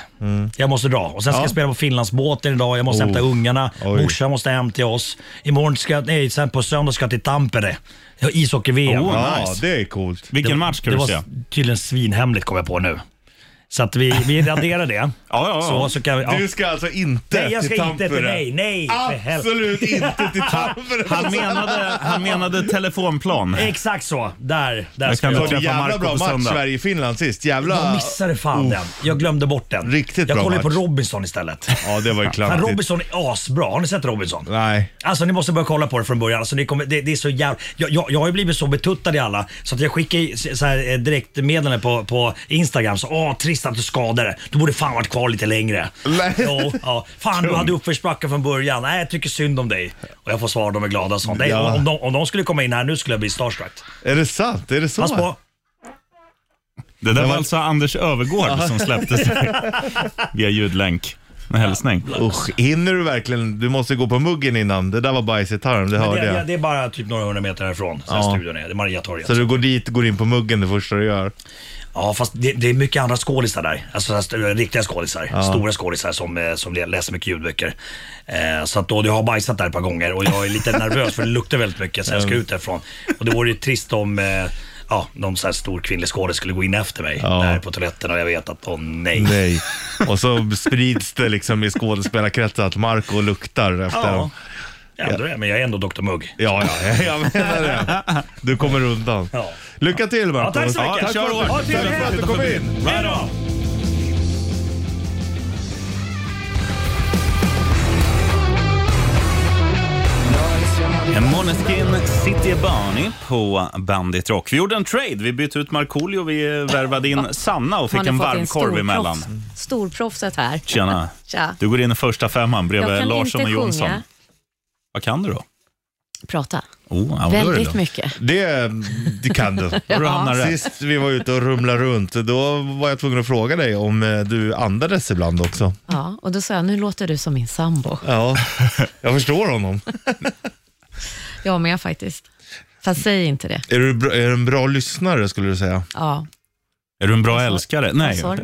Speaker 11: Jag måste dra. Och sen ska
Speaker 3: Mm. Ja.
Speaker 11: jag spela på Finlandsbåten idag. Jag måste
Speaker 3: Oh.
Speaker 11: hämta ungarna.
Speaker 3: Oj.
Speaker 11: Morsan måste hem till oss. Imorgon ska jag, nej, sen på söndag ska jag till Tampere. Jag har Ishockey-VM.
Speaker 3: Oh, Ja, nice. det är coolt. Oh, Vilken
Speaker 11: Det-
Speaker 3: match ska du
Speaker 11: det
Speaker 3: se?
Speaker 11: var s- tydligen svinhemligt kom jag på nu.
Speaker 2: Så att vi, vi raderar det. ja,
Speaker 6: ja,
Speaker 2: Så, så kan vi, ja.
Speaker 3: Du ska alltså inte
Speaker 2: Nej, jag ska
Speaker 3: till
Speaker 2: inte
Speaker 3: Tampere.
Speaker 2: till nej, nej. för helvete.
Speaker 3: Absolut inte till Tampere.
Speaker 6: Han menade, han menade telefonplan.
Speaker 2: Exakt så. Där, där
Speaker 6: Jag
Speaker 2: ska
Speaker 6: kan
Speaker 2: jag.
Speaker 6: ta
Speaker 2: vara.
Speaker 6: träffa Jävla Marco bra på match, söndag.
Speaker 3: Sverige-Finland sist. Jävla...
Speaker 2: Jag missade fan
Speaker 3: Uff.
Speaker 2: den. Jag glömde bort den.
Speaker 3: Oh. Riktigt
Speaker 2: jag
Speaker 3: bra
Speaker 2: kollar ju på
Speaker 3: match.
Speaker 2: Robinson istället.
Speaker 3: Ja, det var ju
Speaker 2: Men
Speaker 3: klantigt.
Speaker 2: Robinson är asbra. Har ni sett Robinson?
Speaker 3: Nej.
Speaker 2: Alltså ni måste börja kolla på det från början. Alltså, det, kommer, det, det är så jävla... Jag, jag, jag har ju blivit så betuttad i alla så att jag skickar ju så så här, eh, direktmeddelanden på, på Instagram. Så, Åh, trist att du skadade Du borde fan varit kvar lite längre. Jo, ja. Fan, du
Speaker 3: Tung.
Speaker 2: hade uppförsbacke från början. Nej, jag tycker synd om dig. Och jag får svar, de är glada och sånt. Nej,
Speaker 3: Ja.
Speaker 2: om, de, om de skulle komma in här nu skulle jag bli starstruck.
Speaker 3: Är det sant? Är det så?
Speaker 2: Pass på.
Speaker 6: Det där var alltså Anders Övergård som släpptes via ljudlänk. Med hälsning.
Speaker 3: Usch, hinner du verkligen? Du måste gå på muggen innan. Det där var bajsgitarren, det
Speaker 2: Men
Speaker 3: hörde
Speaker 2: det, det,
Speaker 3: jag.
Speaker 2: det är bara typ några hundra meter härifrån, så här
Speaker 3: Ja.
Speaker 2: studion är. Det är Mariatorget.
Speaker 3: Så du går dit går in på muggen det första du gör?
Speaker 2: Ja, fast det, det är mycket andra skådisar där. Alltså så här, riktiga skådisar. Stora skådisar som, eh, som lä- läser mycket ljudböcker. Eh, så att då, jag har bajsat där ett par gånger och jag är lite nervös för det luktar väldigt mycket så jag ska
Speaker 3: Mm.
Speaker 2: ut därifrån. Och det vore ju trist om eh, ja, någon så här stor kvinnlig skådis skulle gå in efter mig
Speaker 3: Ja.
Speaker 2: där på toaletten och jag vet att, åh nej.
Speaker 3: Nej. Och så sprids det liksom i skådespelarkretsar att Marco luktar efter
Speaker 2: Ja.
Speaker 3: dem.
Speaker 2: Jag ändrar det, men jag är ändå Dr Mugg.
Speaker 3: Ja, ja, jag menar det. Du kommer undan.
Speaker 2: Ja.
Speaker 3: Lycka till Marco.
Speaker 2: Ja, tack så mycket.
Speaker 3: tack
Speaker 2: Kör
Speaker 3: för
Speaker 2: hårt.
Speaker 3: att-
Speaker 2: Ha
Speaker 3: tack
Speaker 2: en
Speaker 3: för
Speaker 2: trevlig
Speaker 3: att du kom in.
Speaker 2: Hej då!
Speaker 6: Måneskin City Barney på Bandit Rock. Vi gjorde en trade. Vi bytte ut Markoolio, vi värvade in Sanna och
Speaker 12: Har
Speaker 6: fick
Speaker 12: ni fått in
Speaker 6: en varmkorv
Speaker 12: storproffs-
Speaker 6: emellan.
Speaker 12: Storproffset här.
Speaker 6: Tjena.
Speaker 12: Tja.
Speaker 6: Du går in i första femman
Speaker 12: Jag
Speaker 6: bredvid
Speaker 12: kan
Speaker 6: Larsson och
Speaker 12: inte
Speaker 6: Jonsson.
Speaker 12: sjunga,
Speaker 6: Vad kan du då?
Speaker 12: prata.
Speaker 6: Oh, ja, då är det
Speaker 12: Väldigt
Speaker 6: då.
Speaker 12: mycket.
Speaker 3: Det, det kan du.
Speaker 12: Ja. Då hamnar det.
Speaker 3: Sist vi var ute och rumlade runt, då var jag tvungen att fråga dig om eh, du andades ibland också.
Speaker 12: Ja, och då sa jag, nu låter du som min sambo.
Speaker 3: Ja, jag förstår honom.
Speaker 12: Jag med faktiskt. Fast säg inte det.
Speaker 3: Är du, bra- är du en bra lyssnare skulle du säga?
Speaker 12: Ja.
Speaker 6: Är du en bra älskare?
Speaker 12: Vad
Speaker 6: Nej,
Speaker 12: sa du?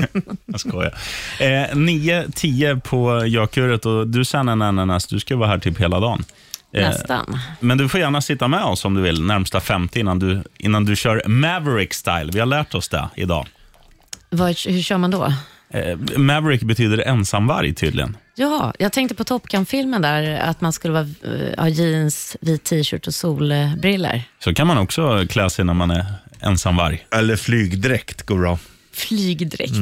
Speaker 6: jag skojar. Eh, 9-10 på Gökuret och du Sanna Nananas, du ska vara här typ hela dagen.
Speaker 12: Nästan.
Speaker 6: Men du får gärna sitta med oss om du vill, närmsta 50 innan du, innan du kör Maverick style. Vi har lärt oss det idag.
Speaker 12: Vad, hur kör man då?
Speaker 6: Eh, Maverick betyder ensamvarg tydligen.
Speaker 12: Ja, jag tänkte på Top Gun-filmen där, att man skulle vara, eh, ha jeans, vit t-shirt och solbriller.
Speaker 6: Så kan man också klä sig när man är ensamvarg.
Speaker 3: Eller flygdräkt går bra. Mm.
Speaker 12: Flygdräkt.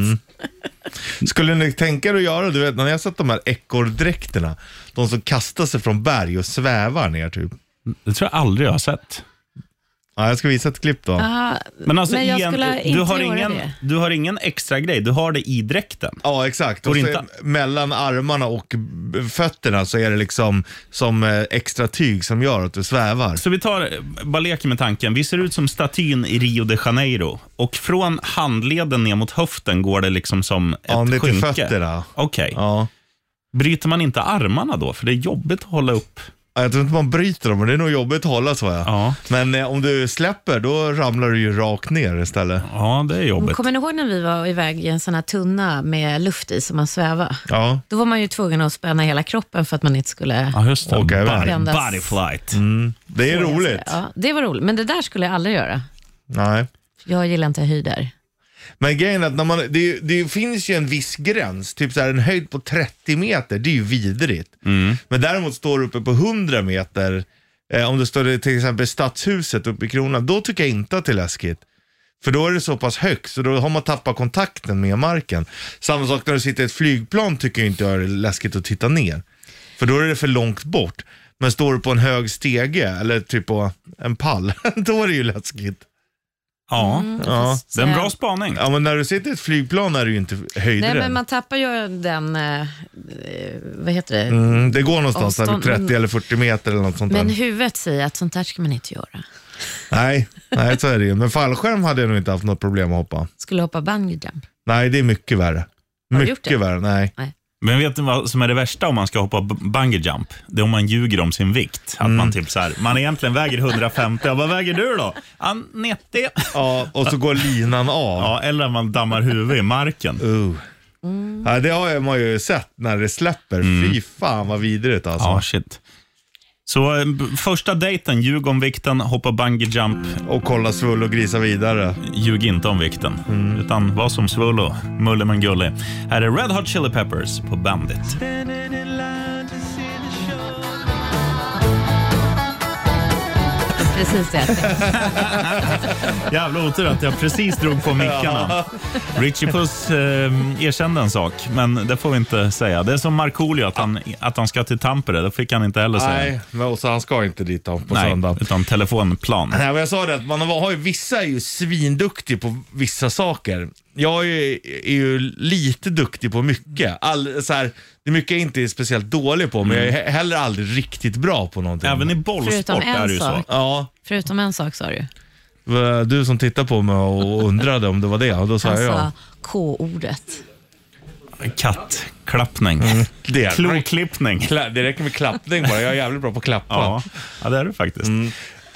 Speaker 3: Skulle ni tänka er att göra, du vet när jag har sett de här ekorrdräkterna, de som kastar sig från berg och svävar ner typ.
Speaker 6: Det tror jag aldrig jag har sett.
Speaker 3: Ja, jag ska visa ett klipp då.
Speaker 12: Ah,
Speaker 6: Men, alltså,
Speaker 12: men jag
Speaker 6: igen,
Speaker 12: skulle
Speaker 6: du,
Speaker 12: inte
Speaker 6: har
Speaker 12: göra
Speaker 6: ingen,
Speaker 12: det.
Speaker 6: du har ingen extra grej, du har det i dräkten.
Speaker 3: Ja, exakt.
Speaker 6: Går
Speaker 3: Och så
Speaker 6: inte-
Speaker 3: mellan armarna och b- fötterna så är det liksom som eh, extra tyg som gör att du svävar.
Speaker 6: Så vi tar, bara leker med tanken. Vi ser ut som statyn i Rio de Janeiro. Och från handleden ner mot höften går det liksom som ett
Speaker 3: Ja, ner till
Speaker 6: skynke.
Speaker 3: fötterna.
Speaker 6: Okej.
Speaker 3: Ja.
Speaker 6: Bryter man inte armarna då? För det är jobbigt att hålla upp.
Speaker 3: Ja, Jag tror inte man bryter dem, men det är nog jobbigt att hålla så ja. Men eh, om du släpper, då ramlar du ju rakt ner istället.
Speaker 6: Ja, det är jobbigt.
Speaker 12: Kommer ni ihåg när vi var iväg i en sån här tunna med luft i som man svävade?
Speaker 3: Ja.
Speaker 12: Då var man ju tvungen att spänna hela kroppen för att man inte skulle...
Speaker 6: Ja, just det.
Speaker 3: Åka iväg.
Speaker 6: Body,
Speaker 12: Brändas.
Speaker 6: body flight.
Speaker 3: Det är roligt.
Speaker 12: Ja, det var roligt, men det där skulle jag aldrig göra.
Speaker 3: Nej.
Speaker 12: Jag gillar inte höjder.
Speaker 3: Men grejen är att när man, det, är ju- det finns ju en viss gräns, typ så här en höjd på 30 meter, det är ju vidrigt. Men däremot står du uppe på 100 meter, eh, om du står i till exempel i Stadshuset uppe i Kronan, då tycker jag inte att det är läskigt. För då är det så pass högt, så då har man tappat kontakten med marken. Samma sak när du sitter i ett flygplan tycker jag inte jag är läskigt att titta ner. För då är det för långt bort. Men står du på en hög stege eller typ på en pall, då är det ju läskigt.
Speaker 6: Ja,
Speaker 3: Ja.
Speaker 6: det är en bra spaning.
Speaker 3: Ja, men när du sitter i ett flygplan är du ju inte höjdrädd.
Speaker 12: Eh, Nej, men man tappar ju den... eh, eh, vad heter det?
Speaker 3: mm, det går någonstans där vid
Speaker 12: Avstånd-
Speaker 3: 30 eller 40 meter eller något sånt
Speaker 12: Men
Speaker 3: där.
Speaker 12: huvudet säger att sånt här ska man inte göra.
Speaker 3: Nej, nej, så är det ju. Men fallskärm hade jag nog inte haft något problem att hoppa.
Speaker 12: Skulle hoppa bungee jump.
Speaker 3: Nej, det är mycket värre.
Speaker 12: Har du gjort det?
Speaker 3: Mycket värre, nej.
Speaker 6: Men vet ni vad som är det värsta om man ska hoppa b- bungee jump? Det är om man ljuger om sin vikt. Att
Speaker 3: Mm.
Speaker 6: man typ så här, man egentligen väger 150. Vad väger du då? "Ja, 90.
Speaker 3: Ja, och så går linan av.
Speaker 6: Ja, eller att man dammar huvudet i marken.
Speaker 3: Uh.
Speaker 12: Mm.
Speaker 6: Mm.
Speaker 3: Ja, det har man ju sett när det släpper. Fy fan vad vidrigt alltså.
Speaker 6: Ja, shit.
Speaker 2: Så eh, b- första dejten, ljug om vikten, hoppa bungee jump
Speaker 3: Och kolla Svullo och grisa vidare.
Speaker 2: Ljug inte om vikten, utan var som Svullo, mulle men gullig. Här är Red Hot Chili Peppers på Bandit.
Speaker 12: Precis det.
Speaker 2: Jävla otur att jag precis drog på mickarna. Richie Puss eh, erkände en sak, men det får vi inte säga. Det är som Markoolio, att han, att han ska till Tampere. Det fick han inte heller säga.
Speaker 3: Nej, men och så han ska inte dit då, på
Speaker 2: Nej,
Speaker 3: söndag.
Speaker 2: utan telefonplan.
Speaker 3: Nej, men jag sa det att man har har ju, vissa är ju svinduktig på vissa saker. Jag är ju, är ju lite duktig på mycket. All, så här, det är mycket jag inte är speciellt dålig på, men jag är he- heller aldrig riktigt bra på någonting.
Speaker 2: Mm. Även i
Speaker 12: Förutom en sak.
Speaker 3: Ja,
Speaker 12: Förutom en sak sa du.
Speaker 3: v- du som tittar på mig och undrade om det var det, och då sa
Speaker 12: Han
Speaker 3: jag ja.
Speaker 12: sa Alltså, K-ordet.
Speaker 2: Kattklappning.
Speaker 3: Det,
Speaker 2: Kloklippning.
Speaker 3: Kla- det räcker med klappning bara, jag är jävligt bra på att klappa.
Speaker 2: Ja, ja, det är det faktiskt.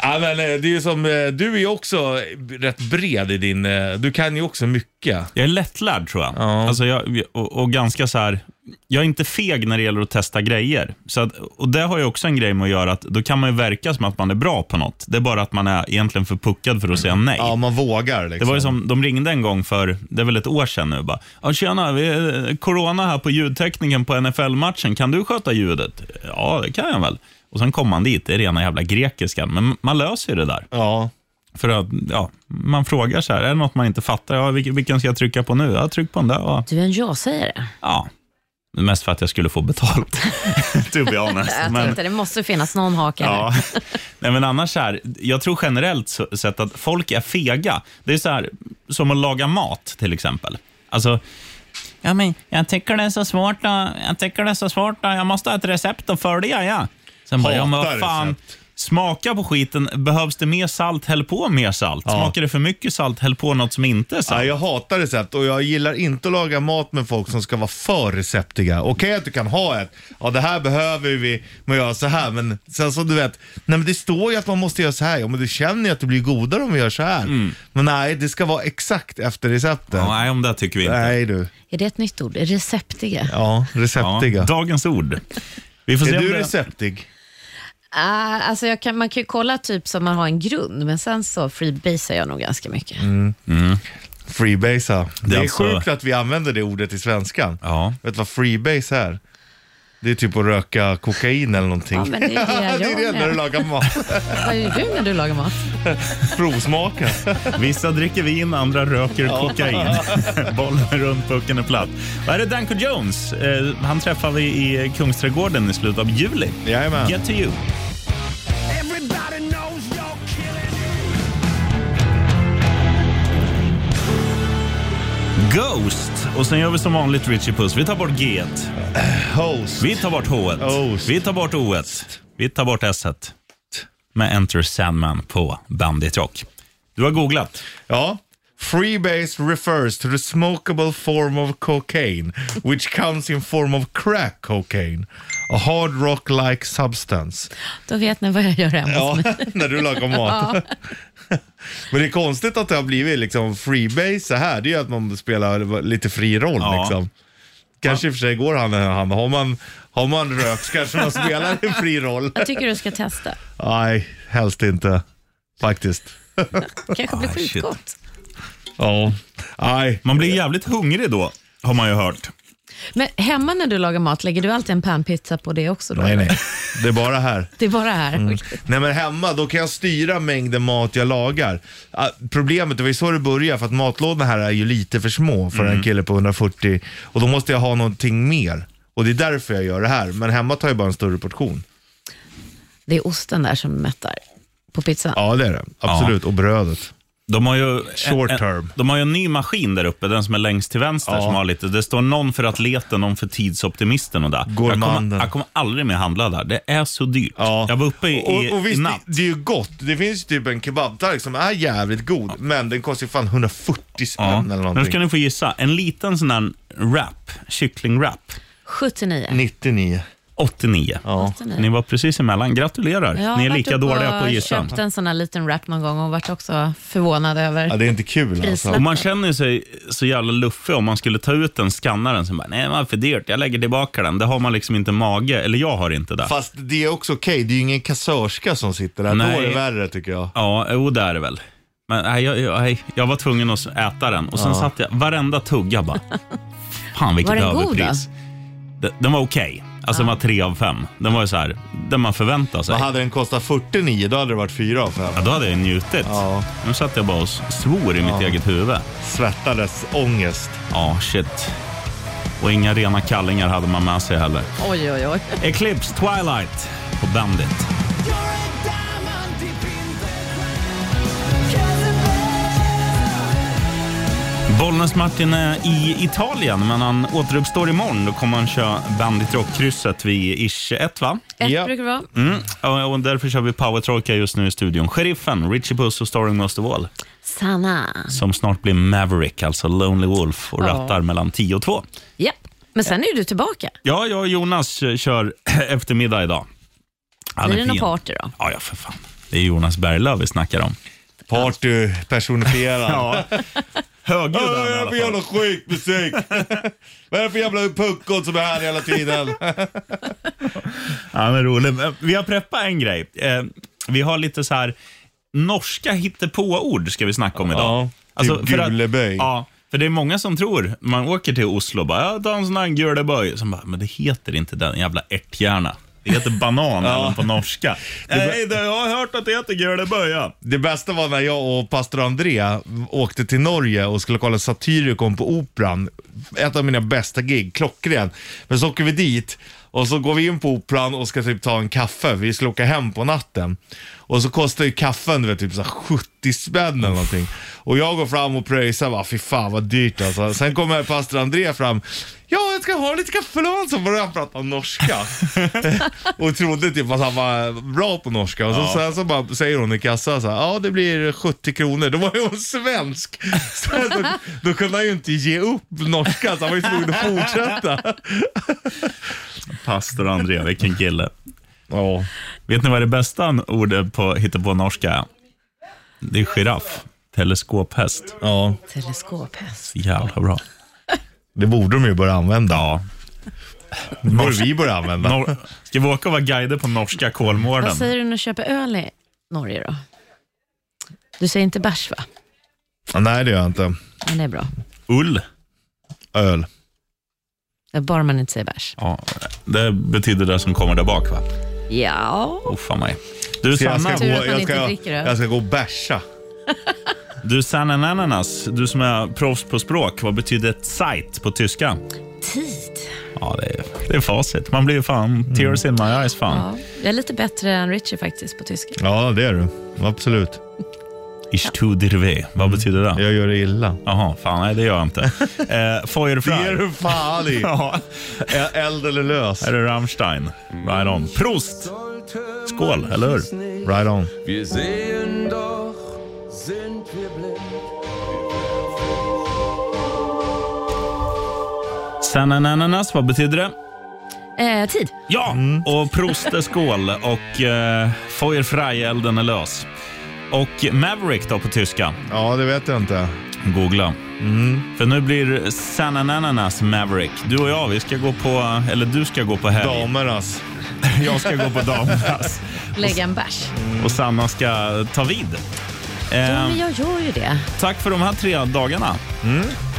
Speaker 3: Ja, men, eh, det är ju som, eh, du är ju också rätt bred i din, eh, du kan ju också mycket.
Speaker 2: Jag är lättlärd tror jag. Alltså jag och, och ganska så här, jag är inte feg när det gäller att testa grejer. Så att, och Det har ju också en grej med att göra att då kan man ju verka som att man är bra på något. Det är bara att man är egentligen för puckad för att säga nej.
Speaker 3: Ja, man vågar liksom.
Speaker 2: Det var ju som, de ringde en gång för, det är väl ett år sedan nu bara. Ja, tjena, vi är corona här på ljudtekniken på NFL-matchen. Kan du sköta ljudet? Ja, det kan jag väl. Och sen kom man dit, det är rena jävla grekiskan. Men man löser ju det där.
Speaker 3: Ja.
Speaker 2: För att, ja, man frågar så här, är det något man inte fattar? Ja, vilken, vilken ska jag trycka på nu? Ja, tryck på den där. Ja.
Speaker 12: Du är en ja-sägare.
Speaker 2: ja. Mest för att jag skulle få betalt, to be honest.
Speaker 12: Jag
Speaker 2: Men-
Speaker 12: tänkte det måste finnas någon hake.
Speaker 2: Ja.
Speaker 12: här.
Speaker 2: Nej, men annars så här, jag tror generellt så- sett att folk är fega. Det är så här, som att laga mat till exempel. Alltså, ja, men jag tycker det är så svårt, att, jag tycker det är så svårt, att, jag måste ha ett recept att följa. Ja. Sen bara, ja, men vad
Speaker 3: Hatar
Speaker 2: fan, smaka på skiten. Behövs det mer salt, häll på mer salt. Smakar det för mycket salt, häll på något som inte är salt.
Speaker 3: Ja, jag hatar recept och jag gillar inte att laga mat med folk som ska vara för receptiga. Okej att du kan ha ett, ja det här behöver vi, men göra så här. Men sen så du vet, nej men det står ju att man måste göra så här. Ja men du känner ju att det blir godare om vi gör så här. Men nej, det ska vara exakt efter receptet.
Speaker 2: Ja, Mm. nej, om det tycker vi inte.
Speaker 3: Nej du.
Speaker 12: Är det ett nytt ord? Receptiga?
Speaker 3: Ja, receptiga.
Speaker 2: Ja, dagens ord. Vi får se
Speaker 3: är
Speaker 2: om
Speaker 3: du
Speaker 2: det-
Speaker 3: receptig?
Speaker 12: Ah, alltså jag kan, man kan ju kolla typ som man har en grund, men sen så freebasar jag nog ganska mycket.
Speaker 3: Mm. Freebasea. Det är,
Speaker 2: alltså-
Speaker 3: sjukt att vi använder det ordet i svenskan.
Speaker 2: Ja.
Speaker 3: Vet du vad freebase är? Det är typ att röka kokain eller någonting.
Speaker 12: Ja, men det är det jag
Speaker 3: det är det
Speaker 12: med.
Speaker 3: när du lagar mat.
Speaker 12: Vad gör du när du lagar mat?
Speaker 3: Provsmaka.
Speaker 2: Vissa dricker vin, andra röker
Speaker 3: Ja.
Speaker 2: kokain. Bollen är runt, pucken är platt. Vad är det Danko Jones? Eh, han träffar vi i Kungsträdgården i slutet av juli.
Speaker 3: Jajamän.
Speaker 2: Get to you. Ghost. Och sen gör vi som vanligt Richie Puss. Vi tar bort G.
Speaker 3: Host.
Speaker 2: Vi tar bort H. Vi tar bort O. Vi tar bort S. Med Enter Sandman på Bandit Rock. Du har googlat.
Speaker 3: Ja. Freebase refers to the smokable form of cocaine, which comes in form of crack cocaine, a hard rock-like substance.
Speaker 12: Då vet ni vad jag gör hemma
Speaker 3: Ja,
Speaker 12: hos mig.
Speaker 3: när du lagar mat. Men det är konstigt att det har blivit liksom freebase så här. Det är ju att man spelar lite fri roll
Speaker 2: Ja.
Speaker 3: liksom. Kanske i och för sig går hand i hand. Har man, har man rökt så kanske man spelar en fri roll.
Speaker 12: Jag tycker du ska testa.
Speaker 3: Nej, helst inte. Faktiskt.
Speaker 12: Det kanske blir
Speaker 2: Ah, shit.
Speaker 12: skitgott.
Speaker 3: Ja. Nej.
Speaker 2: Man blir jävligt hungrig då, har man ju hört.
Speaker 12: Men hemma när du lagar mat, lägger du alltid en panpizza på det också? Då?
Speaker 3: Nej, nej. Mm. Det är bara här.
Speaker 12: Det är bara här? Okej.
Speaker 3: Nej men hemma, då kan jag styra mängden mat jag lagar. Ah, Problemet, det var ju så det började, för att matlådorna här är ju lite för små för
Speaker 2: Mm.
Speaker 3: en kille på 140 och då måste jag ha någonting mer. Och det är därför jag gör det här, men hemma tar jag bara en större portion.
Speaker 12: Det är osten där som mättar på pizzan.
Speaker 3: Ja det är det, absolut. Och brödet.
Speaker 2: De har ju
Speaker 3: Short
Speaker 2: en,
Speaker 3: term.
Speaker 2: En, de har ju en ny maskin där uppe, den som är längst till vänster.
Speaker 3: Ja.
Speaker 2: Som har lite, det står någon för atleten, någon för tidsoptimisten och där. Jag kommer,
Speaker 3: Gourmanden.
Speaker 2: jag kommer aldrig mer handla där. Det är så dyrt. Jag var uppe i,
Speaker 3: Och, och
Speaker 2: i
Speaker 3: visst,
Speaker 2: natt.
Speaker 3: det, det är ju gott. Det finns ju typ en kebabtark som är jävligt god, men den kostar ju fan 140 spänn
Speaker 2: Ja.
Speaker 3: eller
Speaker 2: Nu ska
Speaker 3: någonting.
Speaker 2: ni få gissa. En liten sån där wrap, kycklingwrap.
Speaker 12: 79.
Speaker 3: 99.
Speaker 10: 89. Ni var precis emellan. Gratulerar.
Speaker 12: Jag har
Speaker 10: Ni är
Speaker 12: varit
Speaker 10: lika
Speaker 12: uppe
Speaker 10: dåliga
Speaker 12: och
Speaker 10: på att gissa.
Speaker 12: köpt en sån här liten wrap någon gång och varit också förvånad över.
Speaker 3: alltså.
Speaker 12: prislappen.
Speaker 10: Och man känner sig så jävla luffig om man skulle ta ut den skannaren. Så bara, nej, det var för dyrt. Jag lägger tillbaka den. Det har man liksom inte mage. Eller jag har inte det.
Speaker 3: Fast det är också okej, det är ju ingen kassörska som sitter där. Då är det värre tycker jag.
Speaker 10: Ja, jo det är det väl. Men nej, jag, jag, nej, jag var tvungen att äta den och sen
Speaker 3: Ja.
Speaker 10: satt jag varenda tugga bara. Fan vilket
Speaker 3: Var den god,
Speaker 10: överpris. Den, den var okej. Alltså den var tre av fem. Den var ju så här, den man förväntar sig.
Speaker 3: Men hade den kostat 49 då hade det varit 4 av 5.
Speaker 10: Ja, då hade jag njutit. Nu satt jag bara och svor i mitt
Speaker 3: Ja.
Speaker 10: eget huvud. Svettades ångest. Ja, shit. Och inga rena kallingar hade man med sig heller.
Speaker 12: Oj, oj, oj.
Speaker 10: Eclipse Twilight på Bandit. Bollnäs-Martin är i Italien, men han återuppstår imorgon. Då kommer han köra Bandit Rock-krysset vid ish 1, va?
Speaker 12: Ett brukar det vara.
Speaker 10: Mm. Och och därför kör vi Power Trojka just nu i studion. Sheriffen, Richie Puss och Starring Most of All,
Speaker 12: Sanna.
Speaker 10: som snart blir Maverick, alltså Lonely Wolf, och
Speaker 12: Ja.
Speaker 10: rattar mellan 10 och 2.
Speaker 12: Japp. Men sen är ju du tillbaka.
Speaker 10: Ja, jag och Jonas eh, kör eftermiddag idag. Han är
Speaker 12: Blir det någon
Speaker 10: fin.
Speaker 12: party då?
Speaker 10: Ja, ja, för fan. Det är Jonas Berglöf vi snackar om. Party personifierad. ja. Högljudd
Speaker 3: Vad är det för jävla skitmusik? Vad är det för jävla puckon som är här hela tiden?
Speaker 10: ja, men roligt. Men Vi har preppat en grej. Eh, Vi har lite så här norska hittepåord ska vi snacka om idag. Alltså,
Speaker 3: Ja, typ
Speaker 10: för att-
Speaker 3: guleböj.
Speaker 10: Ja, för det är många som tror, man åker till Oslo och bara, ja, ta en sån här guleböj. Som bara, men det heter inte den jävla ärthjärna. Det heter banan även på norska. Nej, det, jag har hört att det heter Göleböja.
Speaker 3: Det bästa var när jag och pastor André åkte till Norge och skulle kolla Satyricon på Operan. Ett av mina bästa gig, klockren. Men så åker vi dit och så går vi in på Operan och ska typ ta en kaffe. Vi skulle åka hem på natten. Och så kostar ju kaffen du vet, typ så här 70 spänn eller någonting. Och jag går fram och pröjsar, bara, fy fan vad dyrt alltså. Sen kommer pastor André fram. Ja, jag ska ha lite kaffe då. Så började han prata norska. och trodde typ att han var bra på norska. Och så,
Speaker 4: Ja.
Speaker 3: sen så bara säger hon i kassan så här, ja det blir 70 kronor. Då var ju hon svensk. Så här, då, då kunde han ju inte ge upp norskan så han var ju tvungen att fortsätta.
Speaker 10: Pastor André, vilken kille. Ja. Vet ni vad det bästa ordet på på norska är? Det är giraff. Teleskophäst. Ja.
Speaker 12: Teleskophäst.
Speaker 10: Jävla bra.
Speaker 3: Det borde de ju börja använda.
Speaker 10: Ja.
Speaker 3: Det borde vi börja använda.
Speaker 10: Nor- Ska vi åka och vara guider på norska
Speaker 12: Vad
Speaker 10: Kolmården?
Speaker 12: säger du när du köper öl i Norge då? Du säger inte bärs va?
Speaker 3: Nej det gör jag inte.
Speaker 12: Men det är bra.
Speaker 10: Ull.
Speaker 3: Öl.
Speaker 12: Det är bara man inte säger bärs.
Speaker 10: Ja, det betyder det som kommer där bak va?
Speaker 12: Ja.
Speaker 10: Oh, fan mig. Du
Speaker 12: Så jag
Speaker 10: Sanna,
Speaker 12: ska Tur gå- att man jag inte ska- dricker öl. jag ska
Speaker 3: gå och bärsa.
Speaker 10: Du Sanna Nananas, du som är proffs på språk, vad betyder Zeit på tyska?
Speaker 12: Tid.
Speaker 10: Ja, det är, det är facit. Man blir ju
Speaker 12: Mm.
Speaker 10: fan tears in my eyes fan.
Speaker 12: Ja. Jag är lite bättre än Richie faktiskt på tyska.
Speaker 3: Ja, det är du. Absolut.
Speaker 10: Ich tu dir weh. Vad betyder
Speaker 12: Mm.
Speaker 10: det?
Speaker 3: Jag gör det illa.
Speaker 10: Jaha, fan nej det gör jag inte. eh, Feuerfrei.
Speaker 3: Det är du fan i.
Speaker 10: ja.
Speaker 3: Eld eller lös.
Speaker 10: Här är Rammstein. Right on. Prost! Skål, eller hur?
Speaker 3: Right on.
Speaker 13: Wir sehen doch, sind wir blind.
Speaker 10: Sanna Nananas, vad betyder det?
Speaker 12: Eh, tid.
Speaker 10: Ja,
Speaker 3: Mm.
Speaker 10: och Prost är skål och eh, Feuerfrei elden är lös. Och Maverick då på tyska?
Speaker 3: Ja, det vet jag inte.
Speaker 10: Googla.
Speaker 3: Mm.
Speaker 10: För nu blir Sanna Nananas Maverick. Du och jag, vi ska gå på, eller du ska gå på helg.
Speaker 3: Damernas.
Speaker 10: Jag ska gå på damernas.
Speaker 12: Lägga en bärs.
Speaker 10: Och Sanna ska ta vid.
Speaker 12: Ja,
Speaker 10: Eh,
Speaker 12: men jag gör ju det.
Speaker 10: tack för de här tre dagarna.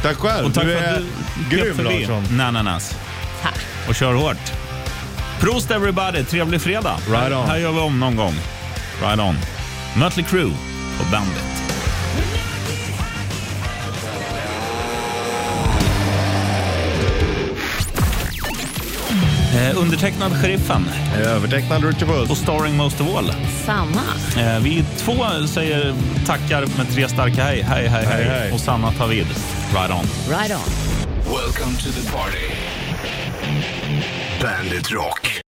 Speaker 3: Tack själv.
Speaker 10: Och tack
Speaker 3: Du
Speaker 10: för
Speaker 3: är
Speaker 10: att du
Speaker 3: grym,
Speaker 10: grep förbi
Speaker 3: Larsson.
Speaker 10: Nananas. Och kör hårt. Prost everybody, trevlig fredag.
Speaker 3: Right on.
Speaker 10: Här gör vi om någon gång. Right on. Mötley Crüe och Bandit. Eh, undertecknad Sheriffen.
Speaker 3: Övertecknad Richard Puss.
Speaker 10: Och starring most of all.
Speaker 12: Sanna.
Speaker 10: Eh, vi två säger tackar med tre starka hej. Hej, hej, hej.
Speaker 4: Hej, hej.
Speaker 10: Och Sanna tar vid. Right on.
Speaker 12: Right on.
Speaker 4: Welcome to the party. Bandit Rock.